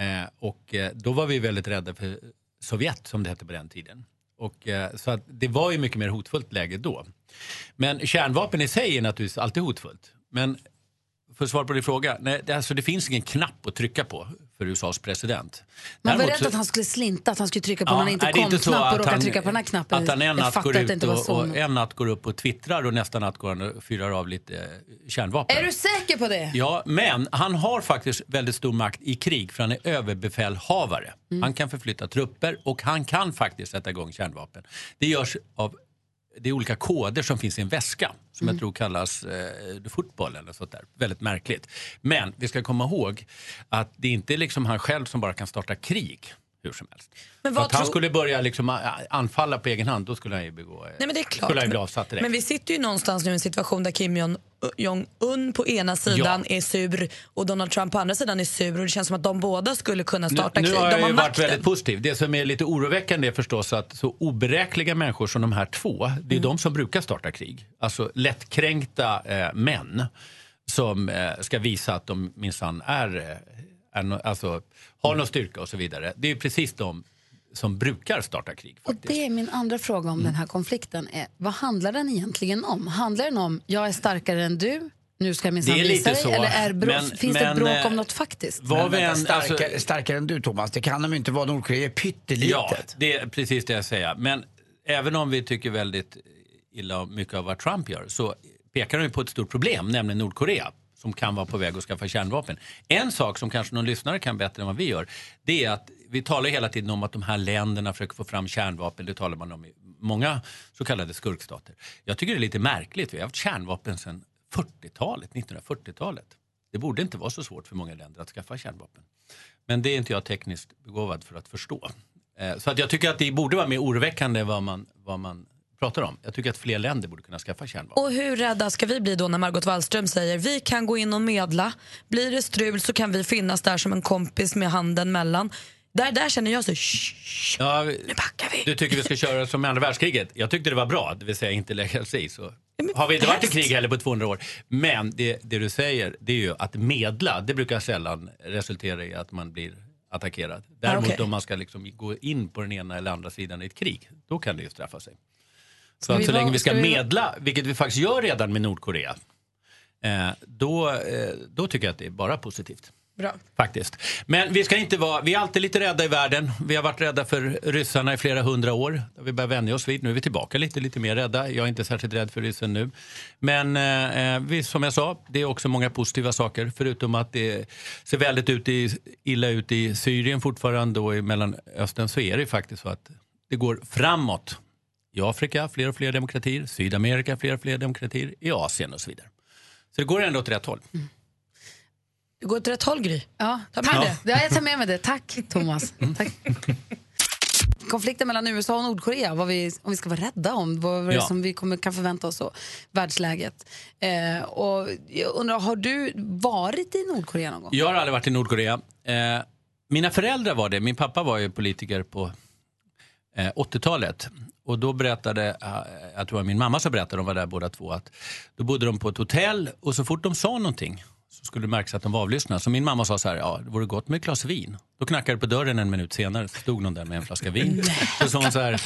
[SPEAKER 16] Eh, och eh, då var vi väldigt rädda för Sovjet som det hette på den tiden. Och, eh, så att det var ju mycket mer hotfullt läge då. Men kärnvapen i sig är naturligtvis alltid hotfullt. Men för att svara på din fråga, nej, det, alltså, det finns ingen knapp att trycka på för USAs president.
[SPEAKER 1] Man var
[SPEAKER 16] Däremot
[SPEAKER 1] rädd
[SPEAKER 16] så-
[SPEAKER 1] att han skulle slinta, att han skulle trycka på
[SPEAKER 16] Ja,
[SPEAKER 1] när han inte
[SPEAKER 16] nej, det är
[SPEAKER 1] kom
[SPEAKER 16] inte så
[SPEAKER 1] knapp och
[SPEAKER 16] att
[SPEAKER 1] råkade
[SPEAKER 16] han-
[SPEAKER 1] trycka på den här knappen.
[SPEAKER 16] Att han en
[SPEAKER 1] jag
[SPEAKER 16] natt går
[SPEAKER 1] fattar att det
[SPEAKER 16] ut
[SPEAKER 1] inte var
[SPEAKER 16] och,
[SPEAKER 1] så.
[SPEAKER 16] och en natt går upp och twittrar och nästa natt går han och fyrar av lite eh, kärnvapen.
[SPEAKER 1] Är du säker på det?
[SPEAKER 16] Ja, men han har faktiskt väldigt stor makt i krig för han är överbefälhavare.
[SPEAKER 1] Mm.
[SPEAKER 16] Han kan förflytta trupper och han kan faktiskt sätta igång kärnvapen. Det görs av det är olika koder som finns i en väska som
[SPEAKER 2] Mm.
[SPEAKER 16] jag tror kallas eh, fotboll eller sånt där. Väldigt märkligt. Men vi ska komma ihåg att det är inte liksom han själv som bara kan starta krig hur som helst.
[SPEAKER 2] Men
[SPEAKER 16] För
[SPEAKER 2] vad
[SPEAKER 16] att han
[SPEAKER 2] tror-
[SPEAKER 16] skulle börja liksom a- anfalla på egen hand, då skulle han ju begå...
[SPEAKER 2] Nej, men det är klart.
[SPEAKER 16] Skulle han ju bli avsatt direkt.
[SPEAKER 2] Men vi sitter ju någonstans nu i en situation där Kim Jong- Jong-Un på ena sidan är sur och Donald Trump på andra sidan är sur och det känns som att de båda skulle kunna starta
[SPEAKER 16] nu,
[SPEAKER 2] krig.
[SPEAKER 16] nu har
[SPEAKER 2] de
[SPEAKER 16] jag
[SPEAKER 2] har
[SPEAKER 16] ju varit
[SPEAKER 2] makten.
[SPEAKER 16] väldigt positiv. Det som är lite oroväckande är förstås att så oberäkliga människor som de här två, det
[SPEAKER 2] Mm.
[SPEAKER 16] är de som brukar starta krig. Alltså lättkränkta eh, män som eh, ska visa att de minsann är, eh, är no, alltså, har någon styrka och så vidare. Det är ju precis de som brukar starta krig.
[SPEAKER 18] Och det är min andra fråga
[SPEAKER 16] Mm.
[SPEAKER 18] om den här konflikten. Är, vad handlar den egentligen om? Handlar den om jag är starkare än du, nu ska jag minsann
[SPEAKER 16] Det är
[SPEAKER 18] visa
[SPEAKER 16] lite
[SPEAKER 18] dig?
[SPEAKER 16] så,
[SPEAKER 18] Eller är brå,
[SPEAKER 16] men-
[SPEAKER 18] finns det
[SPEAKER 16] men,
[SPEAKER 18] bråk om
[SPEAKER 16] eh,
[SPEAKER 18] något faktiskt?
[SPEAKER 16] vad vi
[SPEAKER 3] vänta,
[SPEAKER 16] än- alltså-
[SPEAKER 3] starkare, starkare än du Thomas, det kan de ju inte vara. Nordkorea är pyttelitet.
[SPEAKER 16] Ja, det är precis det jag säger. Men även om vi tycker väldigt illa om mycket av vad Trump gör så pekar han ju på ett stort problem, nämligen Nordkorea som kan vara på väg att skaffa kärnvapen. En sak som kanske någon lyssnare kan bättre än vad vi gör, det är att vi talar hela tiden om att de här länderna försöker få fram kärnvapen. Det talar man om i många så kallade skurkstater. Jag tycker det är lite märkligt. Vi har haft kärnvapen sedan 40-talet, 1940-talet. Det borde inte vara så svårt för många länder att skaffa kärnvapen. Men det är inte jag tekniskt begåvad för att förstå. Eh, Så att jag tycker att det borde vara mer oroväckande vad man, vad man pratar om. Jag tycker att fler länder borde kunna skaffa kärnvapen.
[SPEAKER 2] Och hur rädda ska vi bli då när Margot Wallström säger vi kan gå in och medla, blir det strul så kan vi finnas där som en kompis med handen mellan. Där, där känner jag så, shh,
[SPEAKER 16] Ja, nu
[SPEAKER 2] backar vi.
[SPEAKER 16] Du tycker vi ska köra som i andra världskriget. Jag tyckte det var bra, det vill säga inte lägga sig i. Så. Har vi inte varit i krig heller på 200 år. Men det, det du säger, det är ju att medla, det brukar sällan resultera i att man blir attackerad. Däremot
[SPEAKER 17] Ah, okej.
[SPEAKER 16] om man ska liksom gå in på den ena eller andra sidan i ett krig, då kan det ju straffa sig. Så,
[SPEAKER 17] Ska
[SPEAKER 16] att
[SPEAKER 17] vi
[SPEAKER 16] så
[SPEAKER 17] vara-
[SPEAKER 16] länge vi ska,
[SPEAKER 17] ska vi-
[SPEAKER 16] medla, vilket vi faktiskt gör redan med Nordkorea, eh, då, eh, då tycker jag att det är bara positivt.
[SPEAKER 2] Bra.
[SPEAKER 16] Faktiskt. Men vi ska inte vara, vi är alltid lite rädda i världen. Vi har varit rädda för ryssarna i flera hundra år. Vi börjar vänja oss vid. Nu är vi tillbaka lite, lite mer rädda. Jag är inte särskilt rädd för ryssen nu. Men eh, vi, som jag sa, det är också många positiva saker. Förutom att det ser väldigt ut i, illa ut i Syrien fortfarande och i Mellanöstern så är det faktiskt så att det går framåt. I Afrika fler och fler demokratier, Sydamerika fler och fler demokratier, i Asien och så vidare. Så det går ändå åt rätt håll.
[SPEAKER 2] du går åt rätt håll Gry.
[SPEAKER 18] Ja,
[SPEAKER 2] Ta med
[SPEAKER 18] tack.
[SPEAKER 2] det.
[SPEAKER 18] Ja, jag tar med mig det. Tack, Thomas. Tack. Konflikten mellan USA och Nordkorea, vad vi, om vi ska vara rädda om, vad vad det är
[SPEAKER 1] Ja.
[SPEAKER 18] som vi kommer, kan förvänta oss och världsläget. Eh, och jag undrar, har du varit i Nordkorea någon gång?
[SPEAKER 16] Jag har aldrig varit i Nordkorea. Eh, mina föräldrar var det. Min pappa var ju politiker på eh, 80-talet. Och då berättade, eh, jag tror det var min mamma som berättade, de var där båda två, att då bodde de på ett hotell och så fort de sa någonting så skulle det märkas att de var avlyssnade. Så min mamma sa så här, ja det vore gott med ett glas vin. Då knackade det på dörren en minut senare, så stod någon där med en flaska vin. Så sa hon så här,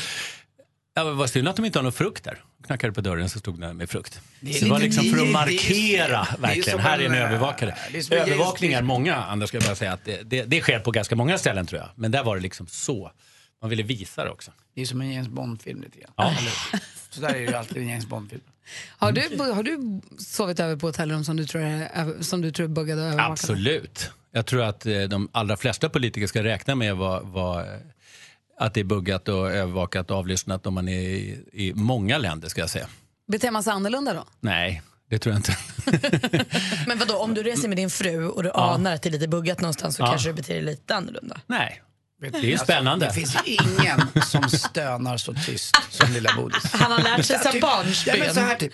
[SPEAKER 16] ja, men vad synd att de inte har någon frukt där. Då Knackade det på dörren så stod den med frukt.
[SPEAKER 3] Det är
[SPEAKER 16] Så det var
[SPEAKER 3] lite-
[SPEAKER 16] liksom
[SPEAKER 3] det
[SPEAKER 16] för
[SPEAKER 3] är-
[SPEAKER 16] att
[SPEAKER 3] det är-
[SPEAKER 16] markera
[SPEAKER 3] det är
[SPEAKER 16] verkligen,
[SPEAKER 3] som
[SPEAKER 16] här är en
[SPEAKER 3] en, eh,
[SPEAKER 16] övervakare.
[SPEAKER 3] det är som en-
[SPEAKER 16] Övervakning är många andra ska jag bara säga att det, det, det sker på ganska många ställen tror jag. Men där var det liksom så. Man ville visa det också.
[SPEAKER 3] Det är som en James Bond-film lite grann.
[SPEAKER 16] Ja.
[SPEAKER 3] Så där är det ju alltid i en James Bond-film.
[SPEAKER 18] Har du, har du sovit över på hotellrum som du tror är, över- som du tror är buggade och övervakade?
[SPEAKER 16] Absolut. Jag tror att eh, de allra flesta politiker ska räkna med vad, vad, eh, att det är buggat och övervakat och avlyssnat om man är i, i många länder ska jag säga.
[SPEAKER 18] Beter man sig annorlunda då?
[SPEAKER 16] Nej, det tror jag inte.
[SPEAKER 2] Men vadå, om du reser med din fru och du
[SPEAKER 16] Ja.
[SPEAKER 2] anar att det är lite buggat någonstans så
[SPEAKER 16] Ja.
[SPEAKER 2] kanske du beter dig lite annorlunda?
[SPEAKER 16] Nej. Det är ju spännande.
[SPEAKER 3] alltså, det finns ju ingen som stönar så tyst som lilla Bodis.
[SPEAKER 2] Han har lärt sig
[SPEAKER 3] Ja,
[SPEAKER 2] sen
[SPEAKER 3] typ.
[SPEAKER 2] barnsben.
[SPEAKER 3] Ja, men så här typ.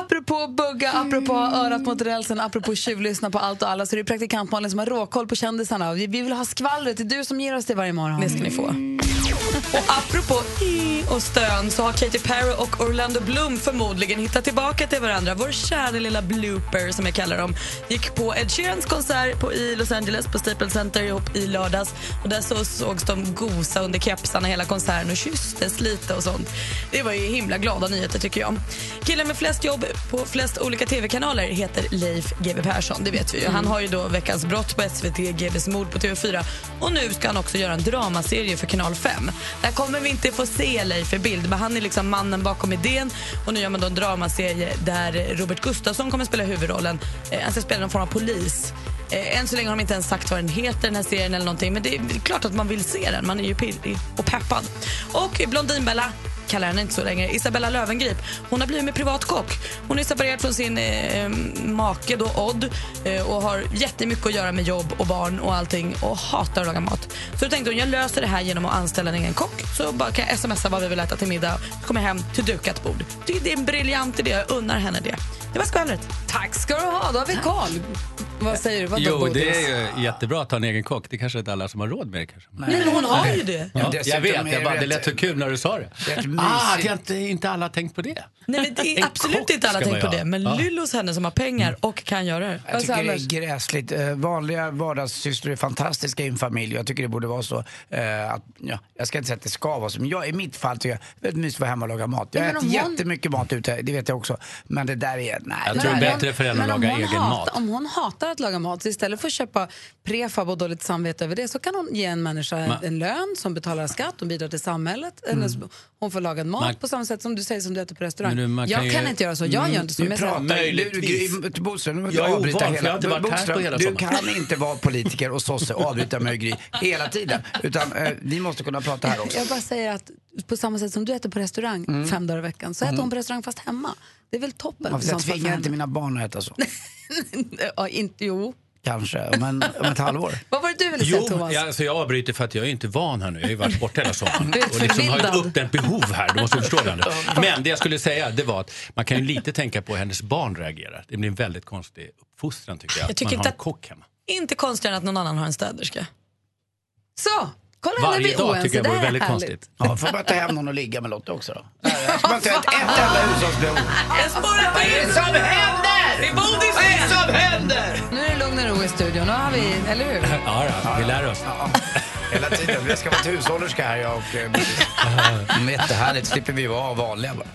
[SPEAKER 18] Apropå bugga, apropå örat mot rälsen, apropå tjuvlyssna på allt och alla så det är praktikant Malin som har råkoll på kändisarna. Vi vi vill ha skvallret, det är du som ger oss det varje morgon. Det
[SPEAKER 2] ska ni få. Och apropå i och stön så har Katy Perry och Orlando Bloom förmodligen hittat tillbaka till varandra. Vår kära lilla blooper som jag kallar dem gick på Ed Sheerans konsert på, i Los Angeles på Staples Center ihop i lördags. Och där så sågs de gosa under kepsarna hela konserten och kysstes lite och sånt. Det var ju himla glada nyheter tycker jag. Killen med flest jobb på flest olika tv-kanaler heter Leif GW Persson, det vet vi
[SPEAKER 1] Mm.
[SPEAKER 2] ju. Han har ju då Veckans brott på SVT, GWs mord på TV4 och nu ska han också göra en dramaserie för Kanal 5. Där kommer vi inte få se Leif i bild, men han är liksom mannen bakom idén och nu gör man då en dramaserie där Robert Gustafsson kommer spela huvudrollen. Eh, Han ska spela någon form av polis. Eh, Än så länge har de inte ens sagt vad den heter, den här serien eller någonting, men det är klart att man vill se den. Man är ju pirrig och peppad. Och Blondinbella kallar henne inte så länge, Isabella Lövengrip. Hon har blivit med privatkock. Hon är separerad från sin eh, make då, Odd eh, och har jättemycket att göra med jobb och barn och allting och hatar att laga mat. Så då tänkte hon, jag löser det här genom att anställa en egen kock så bara kan jag smsa vad vi vill äta till middag så kommer jag hem till dukat bord. Det det är en briljant idé, jag unnar henne det. Det var skvallret.
[SPEAKER 1] Tack ska du ha, då har vi koll. Vad säger du? Vad
[SPEAKER 16] Jo, det är ju jättebra att ha en egen kock. Det kanske inte alla som har råd med det. Kanske.
[SPEAKER 2] Nej, men hon har ju det.
[SPEAKER 16] Ja, jag
[SPEAKER 3] dessutom är
[SPEAKER 16] vet, jag bara,
[SPEAKER 3] det
[SPEAKER 16] det lät så kul när du sa det. Ah, det är inte, inte alla har tänkt på det.
[SPEAKER 2] Nej, men det är
[SPEAKER 16] En
[SPEAKER 2] absolut
[SPEAKER 16] kock
[SPEAKER 2] inte alla
[SPEAKER 16] ska
[SPEAKER 2] tänkt på
[SPEAKER 16] man ju
[SPEAKER 2] det,
[SPEAKER 16] ha.
[SPEAKER 2] men
[SPEAKER 16] Ja. Mm.
[SPEAKER 2] Lyllos henne som har pengar och kan göra det.
[SPEAKER 3] Jag tycker det är gräsligt. Eh, Vanliga vardagssysslor är fantastiska i en familj. Jag tycker det borde vara så. eh, Att, ja, jag ska inte säga att det ska vara så, men jag, i mitt fall tycker jag det är väldigt mysigt att vara hemma och laga mat. Jag
[SPEAKER 1] Ja, men
[SPEAKER 3] äter
[SPEAKER 1] om hon-
[SPEAKER 3] jättemycket mat ute, det vet jag också. Men det där är... Nej,
[SPEAKER 16] Jag tror det är bättre för henne att
[SPEAKER 1] Men om
[SPEAKER 16] laga
[SPEAKER 1] hon
[SPEAKER 16] egen
[SPEAKER 1] hatar,
[SPEAKER 16] mat.
[SPEAKER 1] Om hon hatar att laga mat, så istället för att köpa prefab och dåligt samvete över det, så kan hon ge en människa en,
[SPEAKER 16] Ma-
[SPEAKER 1] en lön som betalar skatt, hon bidrar till samhället,
[SPEAKER 3] Mm.
[SPEAKER 1] hennes- hon får lagad mat
[SPEAKER 16] Man-
[SPEAKER 1] på samma sätt som du säger som du äter på restaurang.
[SPEAKER 16] Men du, man
[SPEAKER 1] jag
[SPEAKER 16] kan
[SPEAKER 1] kan,
[SPEAKER 16] ju-
[SPEAKER 1] inte göra så, jag gör inte så.
[SPEAKER 3] Du
[SPEAKER 1] men jag säger-
[SPEAKER 3] pratar,
[SPEAKER 16] Möjligtvis.
[SPEAKER 3] Du, du, Bodström, du måste
[SPEAKER 16] Jag är
[SPEAKER 3] avbryta
[SPEAKER 16] ovan, för
[SPEAKER 3] hela.
[SPEAKER 16] jag har inte varit här på
[SPEAKER 3] Bodström,
[SPEAKER 16] hela
[SPEAKER 3] du
[SPEAKER 16] sommaren.
[SPEAKER 3] kan inte vara politiker och sosse och avbryta mig och Gry hela tiden. Utan eh, vi måste kunna prata här också.
[SPEAKER 1] Jag bara säger att på samma sätt som du äter på restaurang
[SPEAKER 3] Mm.
[SPEAKER 1] fem dagar i veckan, så äter
[SPEAKER 3] Mm.
[SPEAKER 1] hon på restaurang fast hemma. Det är väl toppen?
[SPEAKER 3] Varför
[SPEAKER 1] i
[SPEAKER 3] Jag
[SPEAKER 1] sånt fall för
[SPEAKER 3] tvingar
[SPEAKER 1] henne.
[SPEAKER 3] inte mina barn att äta så.
[SPEAKER 1] ja, inte, jo.
[SPEAKER 3] Kanske, men om ett halvår.
[SPEAKER 1] Vad var det du ville säga
[SPEAKER 16] Jo,
[SPEAKER 1] Thomas?
[SPEAKER 16] jag, alltså jag avbryter för att jag är inte van här nu. Jag har ju varit borta hela sommaren.
[SPEAKER 1] Du är
[SPEAKER 16] och liksom har ju ett
[SPEAKER 1] förmildad.
[SPEAKER 16] uppdämt behov här. Du måste förstå det. Anders. Men det jag skulle säga det var att man kan ju lite tänka på hur hennes barn reagerar. Det blir en väldigt konstig uppfostran tycker jag.
[SPEAKER 2] Jag tycker
[SPEAKER 16] man
[SPEAKER 2] inte
[SPEAKER 16] har en
[SPEAKER 2] att-
[SPEAKER 16] kock hemma.
[SPEAKER 2] Inte konstigare än att någon annan har en städerska.
[SPEAKER 1] Så! Kolla
[SPEAKER 16] Varje dag tycker jag vore väldigt konstigt.
[SPEAKER 3] Ja, får jag bara ta hem någon och ligga med Lotta också då? Nej, Jag ska bara ta ett, ett enda hushållsbehov.
[SPEAKER 2] Jag spårar
[SPEAKER 3] Vad är det som händer?
[SPEAKER 2] Det är bodis
[SPEAKER 3] Vad är det som händer?
[SPEAKER 1] Nu är det lugn och ro i studion, nu har vi, eller hur?
[SPEAKER 16] Ja, ja, vi lär oss.
[SPEAKER 3] Hela tiden. Vi ska vara till hushållerska här jag och eh, Bodis. Mm, Jättehärligt, slipper vi vara vanliga bara.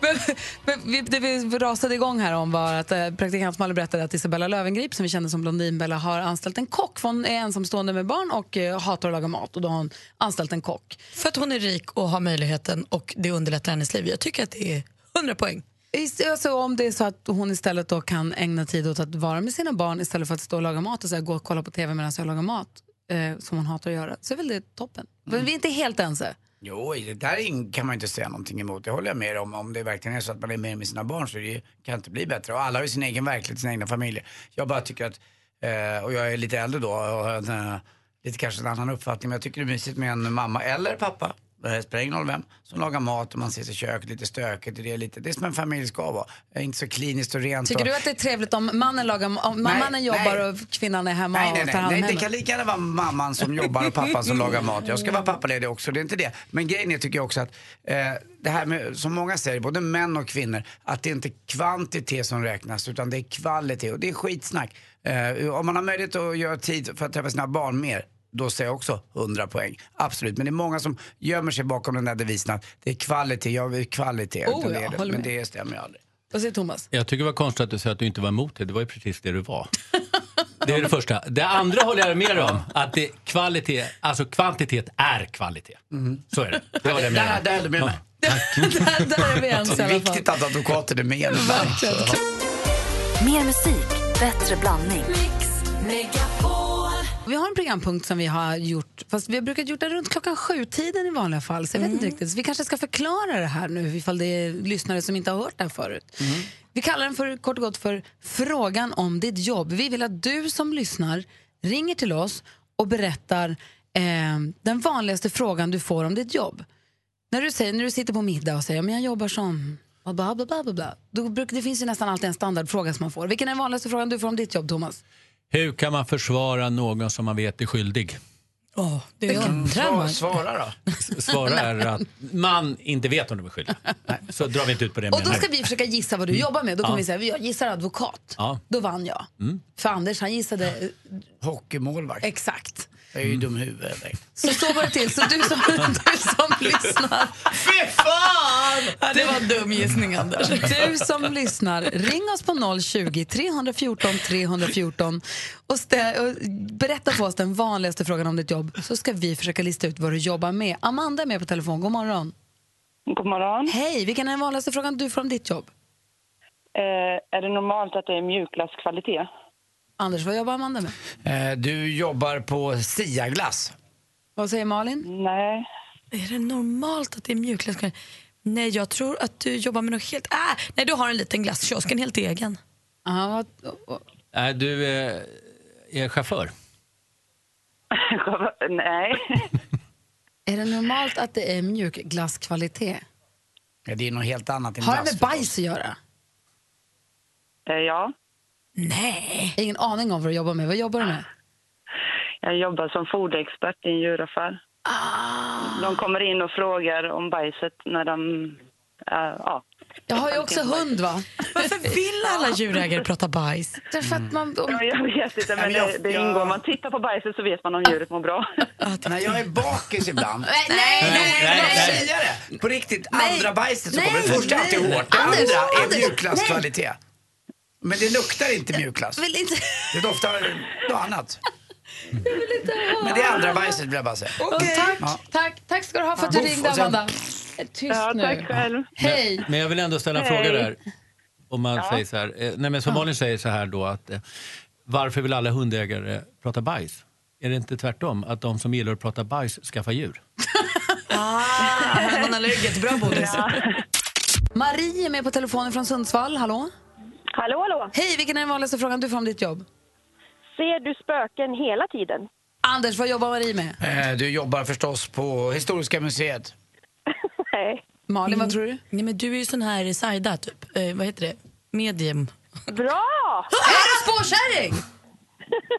[SPEAKER 1] Men, men vi, det vi rasade igång här om var att eh, praktikant Malin berättade att Isabella Lövengrip som vi känner som Blondinbella, har anställt en kock. För hon är ensamstående med barn och eh, hatar att laga mat. Och då har hon anställt en kock.
[SPEAKER 2] För att hon är rik och har möjligheten och det underlättar hennes liv. Jag tycker att det är 100 poäng.
[SPEAKER 1] Is- Alltså, om det är så att hon istället då kan ägna tid åt att vara med sina barn istället för att stå och laga mat och så här, gå och kolla på tv medan jag lagar mat, eh, som hon hatar att göra, så är väl det toppen. Men
[SPEAKER 2] Mm.
[SPEAKER 1] vi är inte helt ense.
[SPEAKER 3] Jo, det där in- kan man inte säga någonting emot. Det håller jag med om. Om det verkligen är så att man är med med sina barn så är det, ju- kan det inte bli bättre. Och alla har ju sin egen verklighet, sina egna familjer. Jag bara tycker att, eh, och jag är lite äldre då och har en, eh, lite kanske en annan uppfattning. Men jag tycker det är mysigt med en mamma eller pappa, det spelar ingen roll vem, som lagar mat och man ses i köket, lite stökigt. och Det är, lite, det är som en familj ska vara. Eh, Inte så kliniskt och rent.
[SPEAKER 1] Tycker
[SPEAKER 3] och,
[SPEAKER 1] du att det är trevligt om mannen, lagar, ma- om
[SPEAKER 3] Nej,
[SPEAKER 1] mannen jobbar
[SPEAKER 3] nej.
[SPEAKER 1] och kvinnan är hemma
[SPEAKER 3] Nej, nej,
[SPEAKER 1] och
[SPEAKER 3] nej,
[SPEAKER 1] tar hand om
[SPEAKER 3] nej. Det
[SPEAKER 1] hemmet?
[SPEAKER 3] kan lika gärna vara mamman som jobbar och pappan som lagar mat. Jag ska vara
[SPEAKER 1] Mm.
[SPEAKER 3] pappaledig också, det är inte det. Men grejen är, tycker jag också att eh, det här med, som många säger, både män och kvinnor, att det är inte kvantitet som räknas utan det är kvalitet och det är skitsnack. Eh, om man har möjlighet att göra tid för att träffa sina barn mer, då säger jag också 100 poäng. Absolut, men det är många som gömmer sig bakom den där devisen att det är kvalitet, jag vill kvalitet.
[SPEAKER 1] Oh,
[SPEAKER 3] utan det
[SPEAKER 1] ja,
[SPEAKER 3] är det.
[SPEAKER 1] håller
[SPEAKER 3] Men
[SPEAKER 1] med.
[SPEAKER 3] det stämmer ju aldrig.
[SPEAKER 1] Vad säger Thomas?
[SPEAKER 16] Jag tycker det var konstigt att du sa att du inte var emot det. Det var ju precis det du var. Det är det första. Det andra håller jag med om. Att det, kvalitet, alltså kvantitet är kvalitet. Så är det. Det var det jag
[SPEAKER 3] Där-
[SPEAKER 16] menade.
[SPEAKER 3] där är du med mig.
[SPEAKER 1] Där är vi
[SPEAKER 3] Det
[SPEAKER 1] ense i
[SPEAKER 3] är
[SPEAKER 1] alla fall.
[SPEAKER 3] viktigt att advokaten är med.
[SPEAKER 9] Mer musik, bättre blandning.
[SPEAKER 1] Vi har en programpunkt som vi har gjort, fast vi har brukat gjort det runt klockan sju-tiden i vanliga fall, så jag vet
[SPEAKER 9] Mm.
[SPEAKER 1] inte riktigt. Så vi kanske ska förklara det här nu, ifall det är lyssnare som inte har hört det här förut.
[SPEAKER 9] Mm.
[SPEAKER 1] Vi kallar den för, kort och gott för Frågan om ditt jobb. Vi vill att du som lyssnar ringer till oss och berättar eh, den vanligaste frågan du får om ditt jobb. När du, säger, när du sitter på middag och säger men jag jobbar som... Bla, bla, bla, bla, bla. Då bruk, det finns ju nästan alltid en standardfråga som man får. Vilken är den vanligaste frågan du får om ditt jobb, Thomas?
[SPEAKER 16] Hur kan man försvara någon som man vet är skyldig?
[SPEAKER 1] Oh,
[SPEAKER 2] det
[SPEAKER 1] undrar man.
[SPEAKER 3] Svara då.
[SPEAKER 16] Svara är att man inte vet om de är skyldiga. Så drar vi inte ut på det
[SPEAKER 1] Och då
[SPEAKER 16] mer
[SPEAKER 1] ska
[SPEAKER 16] nu.
[SPEAKER 1] vi försöka gissa vad du
[SPEAKER 16] Mm.
[SPEAKER 1] jobbar med. Då kommer
[SPEAKER 16] Ja.
[SPEAKER 1] vi säga, jag gissar advokat.
[SPEAKER 16] Ja.
[SPEAKER 1] Då vann jag.
[SPEAKER 16] Mm.
[SPEAKER 1] För Anders han gissade
[SPEAKER 3] Hockeymålvakt.
[SPEAKER 1] exakt.
[SPEAKER 3] Jag är ju dum i huvudet.
[SPEAKER 1] Så så var det till. Så du som, du som lyssnar.
[SPEAKER 3] Fy fan!
[SPEAKER 2] det var en dum gissning Anders.
[SPEAKER 1] Du som lyssnar, ring oss på 020 314 314 och, stä- och berätta för oss den vanligaste frågan om ditt jobb så ska vi försöka lista ut vad du jobbar med. Amanda är med på telefon. God morgon.
[SPEAKER 17] God morgon.
[SPEAKER 1] Hej, vilken är den vanligaste frågan du får om ditt jobb?
[SPEAKER 17] Eh, är det normalt att det är mjukglasskvalitet?
[SPEAKER 1] Anders, vad jobbar Amanda med?
[SPEAKER 3] Eh, Du jobbar på Siaglass.
[SPEAKER 1] Vad säger Malin?
[SPEAKER 17] Nej.
[SPEAKER 2] Är det normalt att det är mjukglass? Nej, jag tror att du jobbar med något helt... Ah, nej, du har en liten glasskiosk, en helt egen.
[SPEAKER 1] Ja, vad,
[SPEAKER 16] Nej, du eh, är chaufför.
[SPEAKER 17] Nej.
[SPEAKER 1] Är det normalt att det är mjukglasskvalitet?
[SPEAKER 3] Ja, det är något helt annat än
[SPEAKER 1] Har det
[SPEAKER 3] glass.
[SPEAKER 1] med bajs att göra?
[SPEAKER 17] Eh, Ja.
[SPEAKER 2] Nej.
[SPEAKER 1] Ingen aning om vad du jobbar med. Vad jobbar du med?
[SPEAKER 17] Ah, Jag jobbar som foderexpert i en djuraffär.
[SPEAKER 2] Ah.
[SPEAKER 17] De kommer in och frågar om bajset när de... eh, ja.
[SPEAKER 1] Jag har ju också hund, va?
[SPEAKER 2] Varför vill alla djurägare prata bajs?
[SPEAKER 1] Därför
[SPEAKER 5] Mm.
[SPEAKER 1] att man...
[SPEAKER 17] Ja, jag vet inte, men
[SPEAKER 3] Mm. Men jag-
[SPEAKER 17] det, det
[SPEAKER 3] jag-
[SPEAKER 17] ingår. Om man tittar på bajset så vet man om djuret mår bra.
[SPEAKER 3] När jag är bakis ibland.
[SPEAKER 1] Nej,
[SPEAKER 3] nej, nej,
[SPEAKER 17] nej.
[SPEAKER 3] säga det. På riktigt, andra bajset så kommer det första
[SPEAKER 1] nej.
[SPEAKER 3] alltid hårt. Det
[SPEAKER 1] Anders,
[SPEAKER 3] andra
[SPEAKER 1] Anders,
[SPEAKER 3] är mjukglasskvalitet. Men det luktar inte mjukglass.
[SPEAKER 1] Vill inte...
[SPEAKER 3] Det doftar något annat.
[SPEAKER 1] höra.
[SPEAKER 3] Men det är andra bajset vill jag bara säga.
[SPEAKER 1] Tack,
[SPEAKER 3] Ja.
[SPEAKER 1] tack, tack ska du ha för att du
[SPEAKER 3] Boff,
[SPEAKER 1] ringde,
[SPEAKER 3] och sen-
[SPEAKER 1] Amanda. Eh, Tyst nu.
[SPEAKER 17] tack själv.
[SPEAKER 1] Hej.
[SPEAKER 16] Men jag vill ändå ställa en
[SPEAKER 1] Hej.
[SPEAKER 16] fråga där. Om man
[SPEAKER 1] Ja.
[SPEAKER 16] säger så här, eh, nej men som Malin säger så här då att eh, varför vill alla hundägare prata bajs? Är det inte tvärtom att de som gillar att prata bajs skaffar djur?
[SPEAKER 2] Ah, hon har lägget. Bra, Bodis.
[SPEAKER 1] Marie är med på telefonen från Sundsvall. Hallå?
[SPEAKER 19] Hallå, hallå.
[SPEAKER 1] Hej, vilken är den vanligaste frågan du får om ditt jobb?
[SPEAKER 19] Ser du spöken hela tiden?
[SPEAKER 1] Anders, vad jobbar Marie med?
[SPEAKER 3] Eh, Du jobbar förstås på Historiska museet.
[SPEAKER 19] Nej.
[SPEAKER 1] Malin, vad tror du?
[SPEAKER 2] Mm. Nej, men du är ju sån här sajda, typ. Eh, vad heter det? Medium.
[SPEAKER 19] Bra!
[SPEAKER 1] Är du spåkärring?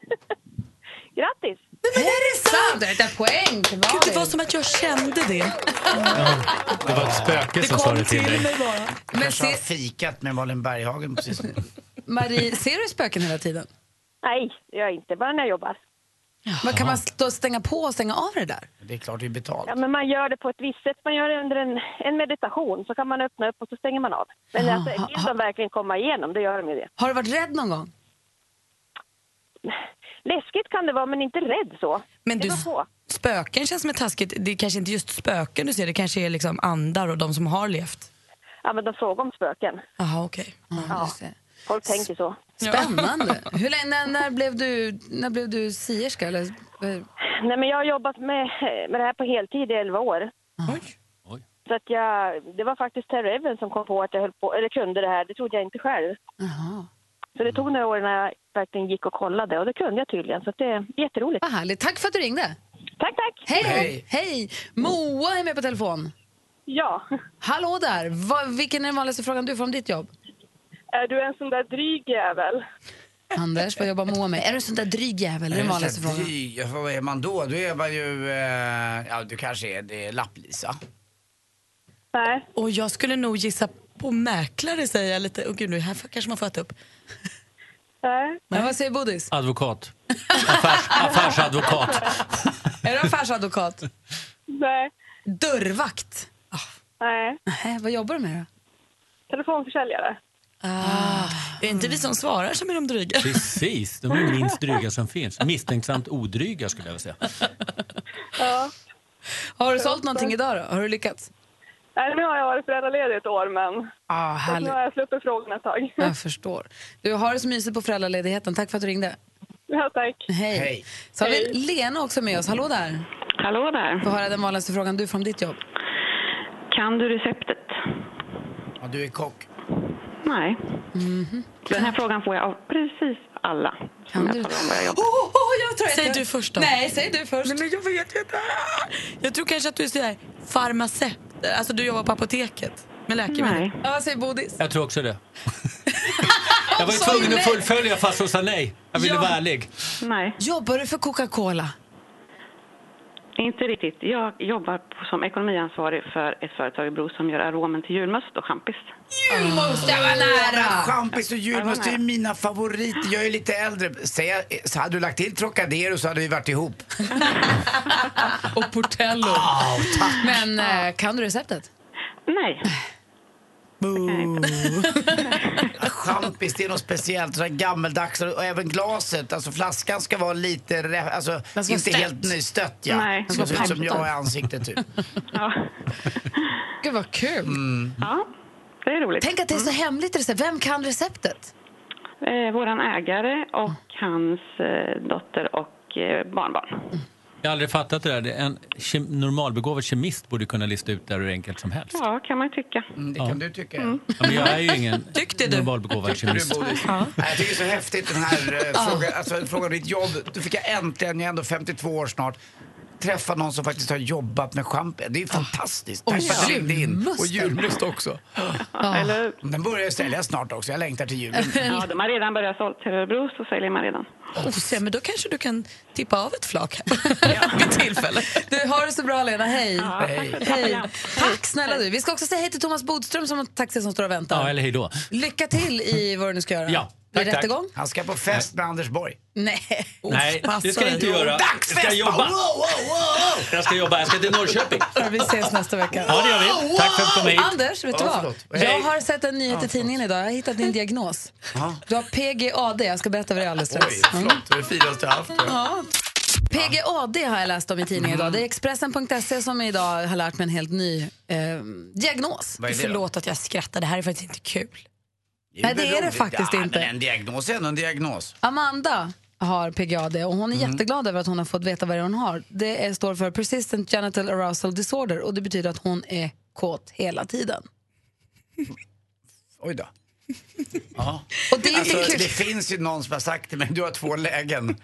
[SPEAKER 19] Grattis!
[SPEAKER 1] Men är det sant? Det är ett poäng till Malin.
[SPEAKER 2] Det var som att jag kände det.
[SPEAKER 16] Det var ett spöke som sa det till dig.
[SPEAKER 2] bara.
[SPEAKER 1] Men
[SPEAKER 3] Kanske har
[SPEAKER 1] se,
[SPEAKER 3] fikat med Malin Berghagen precis nu.
[SPEAKER 1] Marie, ser du spöken hela tiden?
[SPEAKER 19] Nej, det gör jag inte. Bara när jag jobbar.
[SPEAKER 1] Men kan man stå, stänga på och stänga av det där?
[SPEAKER 3] Det är klart det är betalt.
[SPEAKER 19] Ja, men man gör det på ett visst sätt. Man gör det under en, en meditation. Så kan man öppna upp och så stänger man av. Men
[SPEAKER 1] Jaha,
[SPEAKER 19] alltså,
[SPEAKER 1] ha-
[SPEAKER 19] vill de verkligen komma igenom, då gör de ju det.
[SPEAKER 1] Har du varit rädd någon gång?
[SPEAKER 19] Läskigt kan det vara, men inte rädd så.
[SPEAKER 2] Men
[SPEAKER 19] det
[SPEAKER 2] du,
[SPEAKER 19] beror på.
[SPEAKER 2] spöken känns som ett taskigt... Det är kanske inte just spöken du ser, det kanske är liksom andar och de som har levt.
[SPEAKER 19] Ja, men de frågar om spöken.
[SPEAKER 2] Jaha, okej.
[SPEAKER 19] Ja, folk tänker så.
[SPEAKER 1] Spännande. Hur länge, när, när, blev du, när blev du sierska? Eller, eh,
[SPEAKER 19] Nej, men jag har jobbat med, eh, med det här på heltid i 11 år. Så att jag, det var faktiskt Terry Evans som kom på att jag höll på, eller kunde det här. Det trodde jag inte själv. Så det tog några år när jag verkligen gick och kollade och det kunde jag tydligen. Så att det är jätteroligt.
[SPEAKER 1] Vad härligt. Tack för att du ringde.
[SPEAKER 19] Tack, tack.
[SPEAKER 1] Hej, hej.
[SPEAKER 19] Hej.
[SPEAKER 1] hej. Moa är med på telefon.
[SPEAKER 20] Ja.
[SPEAKER 1] Hallå där. Va, vilken är den vanligaste frågan du får om ditt jobb?
[SPEAKER 20] Är du en sån där dryg jävel?
[SPEAKER 1] Anders, vad jobbar Moa med? Är du en sån där dryg jävel? Det
[SPEAKER 3] Eh,
[SPEAKER 1] är den vanligaste
[SPEAKER 3] Just det,
[SPEAKER 1] frågan.
[SPEAKER 3] dryg. Ja, Vad är man då? Då är man ju... eh, Ja, du kanske är det är lapplisa.
[SPEAKER 20] Nej.
[SPEAKER 2] Och jag skulle nog gissa på mäklare, säger jag lite. Åh gud, nu här får- kanske man får äta upp.
[SPEAKER 20] Nej.
[SPEAKER 1] Men vad säger Bodis?
[SPEAKER 16] Advokat. Affärs, affärsadvokat.
[SPEAKER 1] Är du affärsadvokat?
[SPEAKER 20] Nej.
[SPEAKER 1] Dörrvakt?
[SPEAKER 20] Nej.
[SPEAKER 1] Nej, vad jobbar du med då?
[SPEAKER 20] Telefonförsäljare.
[SPEAKER 2] Ah, det är inte vi som svarar som är de dryga.
[SPEAKER 16] Precis, de är minst dryga som finns. Misstänksamt odryga skulle jag vilja säga.
[SPEAKER 20] Ja.
[SPEAKER 1] Har du sålt någonting idag då? Har du lyckats?
[SPEAKER 20] Nej, nu har jag varit föräldraledig ett år, men...
[SPEAKER 1] Ah,
[SPEAKER 20] Så att
[SPEAKER 1] härligt.
[SPEAKER 20] nu har jag sluppit frågorna ett tag.
[SPEAKER 1] Jag förstår. Du har det så mysigt på föräldraledigheten. Tack för att du ringde.
[SPEAKER 20] Ja, tack.
[SPEAKER 1] Hej. Så har vi Lena också med oss. Hallå där.
[SPEAKER 21] Hallå där.
[SPEAKER 1] Få höra den vanligaste frågan du får om ditt jobb.
[SPEAKER 21] Kan du receptet?
[SPEAKER 3] Ja, du är kock.
[SPEAKER 21] Nej. Den här frågan får jag av precis alla. Kan jag talar om vad jag jobbar med.
[SPEAKER 1] jag tror jag
[SPEAKER 2] säg
[SPEAKER 1] tror-
[SPEAKER 2] du först då.
[SPEAKER 1] Nej, säg du först.
[SPEAKER 2] Nej, men jag vet ju inte. Jag tror kanske att du är så här farmaceut. Alltså du jobbar på apoteket med läkemedel.
[SPEAKER 21] Nej.
[SPEAKER 1] Ja, säg Bodis.
[SPEAKER 16] Jag tror också det. Jag var ju tvungen att fullfölja fast hon sa nej. Jag ville
[SPEAKER 1] Ja.
[SPEAKER 16] vara ärlig.
[SPEAKER 21] Nej.
[SPEAKER 1] Jobbar du för Coca-Cola?
[SPEAKER 21] Inte riktigt. Jag jobbar på- som ekonomiansvarig för ett företag i Bro som gör aromen till julmust och champis.
[SPEAKER 1] Julmust, jag var nära!
[SPEAKER 3] Champis och julmust det är ju mina favoriter. Jag är ju lite äldre. Säg, så hade du lagt till Trocadero så hade vi varit ihop.
[SPEAKER 1] Och Portello. Men eh, kan du receptet?
[SPEAKER 21] Nej.
[SPEAKER 3] Champis, det är något speciellt. Så här gammeldags. Och även glaset, alltså flaskan ska vara lite... re- Alltså,
[SPEAKER 1] ska
[SPEAKER 3] inte
[SPEAKER 1] vara
[SPEAKER 3] helt
[SPEAKER 1] stött.
[SPEAKER 3] nystött, ja.
[SPEAKER 21] Nej.
[SPEAKER 3] Den ska se ut som
[SPEAKER 21] Den ska
[SPEAKER 3] jag
[SPEAKER 21] vara
[SPEAKER 3] i ansiktet, typ.
[SPEAKER 1] Gud vad kul.
[SPEAKER 3] Mm.
[SPEAKER 21] Ja, det är roligt. Mm.
[SPEAKER 1] Tänk att det är så hemligt recept. Vem kan receptet?
[SPEAKER 21] Eh, våran ägare och hans eh, dotter och eh, barnbarn.
[SPEAKER 16] Jag har aldrig fattat det där. Det- En kem- normalbegåvad kemist borde kunna lista ut det här hur enkelt som helst.
[SPEAKER 21] Ja, kan man tycka.
[SPEAKER 3] Mm,
[SPEAKER 21] Mm.
[SPEAKER 3] det kan du tycka.
[SPEAKER 16] Ja, men jag är ju ingen normalbegåvad
[SPEAKER 3] Tyckte du,
[SPEAKER 16] kemist.
[SPEAKER 3] Bodil? Nej, Jag tycker det är så häftigt den här eh, frågan, alltså, frågan om ditt jobb. Då fick jag äntligen, jag är ändå 52 år snart, träffa någon som faktiskt har jobbat med schampen. Det är fantastiskt.
[SPEAKER 1] Och
[SPEAKER 3] Där bara ringde in.
[SPEAKER 1] julmusten.
[SPEAKER 3] Och julmust också.
[SPEAKER 21] Ja. Eller-
[SPEAKER 3] Den börjar säljas snart också. Jag längtar till julen.
[SPEAKER 21] Ja, de har redan börjat sålt till Örebro, så säljer man redan.
[SPEAKER 2] Oh, se, men då kanske du kan tippa av ett flak.
[SPEAKER 1] Du, har det så bra Lena, hej.
[SPEAKER 2] tack för ett bra
[SPEAKER 1] hej.
[SPEAKER 2] program.
[SPEAKER 1] Tack snälla du. Vi ska också säga hej till Thomas Bodström som har en taxi som står och väntar.
[SPEAKER 16] Ja, eller hej då.
[SPEAKER 1] Lycka till i vad du nu ska göra.
[SPEAKER 16] Ja,
[SPEAKER 1] Vid
[SPEAKER 16] tack, tack.
[SPEAKER 1] rättegång.
[SPEAKER 3] Han ska på fest med Anders Borg.
[SPEAKER 1] Nej.
[SPEAKER 16] Nej, det ska jag inte göra. Jag
[SPEAKER 3] Dagsfest!
[SPEAKER 16] ska jobba.
[SPEAKER 3] Wow, wow, wow!
[SPEAKER 16] Jag ska jobba. Jag ska till Norrköping.
[SPEAKER 1] Vi ses nästa vecka.
[SPEAKER 16] Ja, det gör vi. Tack för att du kom hit.
[SPEAKER 1] Anders, vet du
[SPEAKER 16] Ja,
[SPEAKER 1] vad?
[SPEAKER 16] förlåt.
[SPEAKER 1] Jag
[SPEAKER 16] Hej.
[SPEAKER 1] har sett en
[SPEAKER 16] Ja,
[SPEAKER 1] nyhet i
[SPEAKER 16] förlåt.
[SPEAKER 1] tidningen idag. Jag har hittat din diagnos. Du har PGAD. Jag ska berätta vad det är alldeles strax. Mm.
[SPEAKER 3] Oj, förlåt. Det är det finaste jag haft. tror jag.
[SPEAKER 1] Ja. PGAD har jag läst om i tidningen
[SPEAKER 16] Mm.
[SPEAKER 1] idag. Det är Expressen.se som idag har lärt mig en helt ny eh, diagnos.
[SPEAKER 3] Vad är det då?
[SPEAKER 1] Förlåt att jag skrattar, det här är faktiskt inte kul.
[SPEAKER 3] ju
[SPEAKER 1] Nej, det är det
[SPEAKER 3] roligt.
[SPEAKER 1] faktiskt
[SPEAKER 3] ja,
[SPEAKER 1] inte.
[SPEAKER 3] Men en diagnos är ändå en diagnos.
[SPEAKER 1] Amanda har PGAD och hon är
[SPEAKER 3] Mhm.
[SPEAKER 1] jätteglad över att hon har fått veta vad det är hon har. Det är, står för Persistent Genital Arousal Disorder och det betyder att hon är kåt hela tiden.
[SPEAKER 3] Oj då. Ja.
[SPEAKER 1] Och det, är inte
[SPEAKER 3] alltså,
[SPEAKER 1] kul.
[SPEAKER 3] det finns ju någon som har sagt till mig, du har två lägen.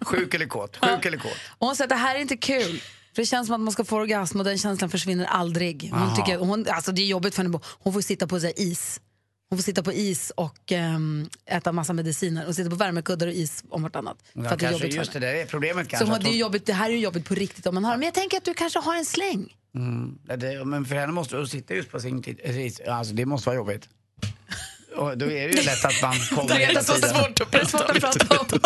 [SPEAKER 3] Sjuk eller kåt, sjuk eller kåt.
[SPEAKER 1] Och hon säger att det här är inte kul. För det känns som att man ska få orgasm och den känslan försvinner aldrig. Hon
[SPEAKER 3] Aha.
[SPEAKER 1] tycker, hon, alltså det är jobbigt för henne. Hon får sitta på så här is. Hon får sitta på is och ehm, äta massa mediciner. Och sitta på värmekuddar och is om vartannat.
[SPEAKER 3] Ja,
[SPEAKER 1] för att det är
[SPEAKER 3] kanske
[SPEAKER 1] jobbigt för
[SPEAKER 3] just det
[SPEAKER 1] henne.
[SPEAKER 3] där är problemet
[SPEAKER 1] Så
[SPEAKER 3] kanske.
[SPEAKER 1] hon,
[SPEAKER 3] att
[SPEAKER 1] det, är jobbigt, det här är ju jobbigt på riktigt om man har Men jag tänker att du kanske har en släng.
[SPEAKER 3] Mm. Ja, Det, men för henne måste hon sitta just på sin tid. precis. Alltså, det måste vara jobbigt. Och då är det ju lätt att man kommer
[SPEAKER 2] Det är så svårt att prata om.
[SPEAKER 1] om.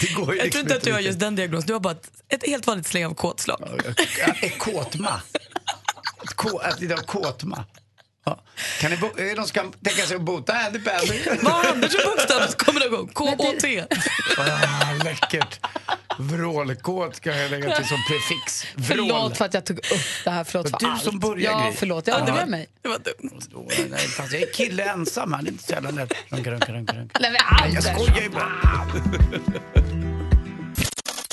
[SPEAKER 3] Det går ju
[SPEAKER 2] Jag
[SPEAKER 3] liksom
[SPEAKER 2] tror inte att du har just den diagnosen. Du har bara ett, ett helt vanligt släng av kåtslag.
[SPEAKER 3] Ett Äh, kåtma. Ett K, att det är kåtma. Ja. Kan ni bo, är det någon som kan tänka sig att bota Andy Pandy?
[SPEAKER 2] Vad Anders och bokstaven kommer du igång? K-O-T.
[SPEAKER 3] Ah, läckert. Vrålkåt ska jag lägga till som prefix. Vrål.
[SPEAKER 1] Förlåt för att jag tog upp det här. Förlåt för
[SPEAKER 3] Det var du
[SPEAKER 1] allt.
[SPEAKER 3] som började,
[SPEAKER 1] Ja,
[SPEAKER 3] Gry.
[SPEAKER 1] förlåt. Jag
[SPEAKER 3] Ja, det
[SPEAKER 1] ångrar
[SPEAKER 3] var-
[SPEAKER 1] mig.
[SPEAKER 2] Det var dumt.
[SPEAKER 3] Åh, nej, fast Jag är kille ensam här, det är inte så jävla lätt. Runka, runka, runka, runka.
[SPEAKER 1] Nej, men
[SPEAKER 3] Nej, jag
[SPEAKER 1] Anders.
[SPEAKER 3] skojar ju bara.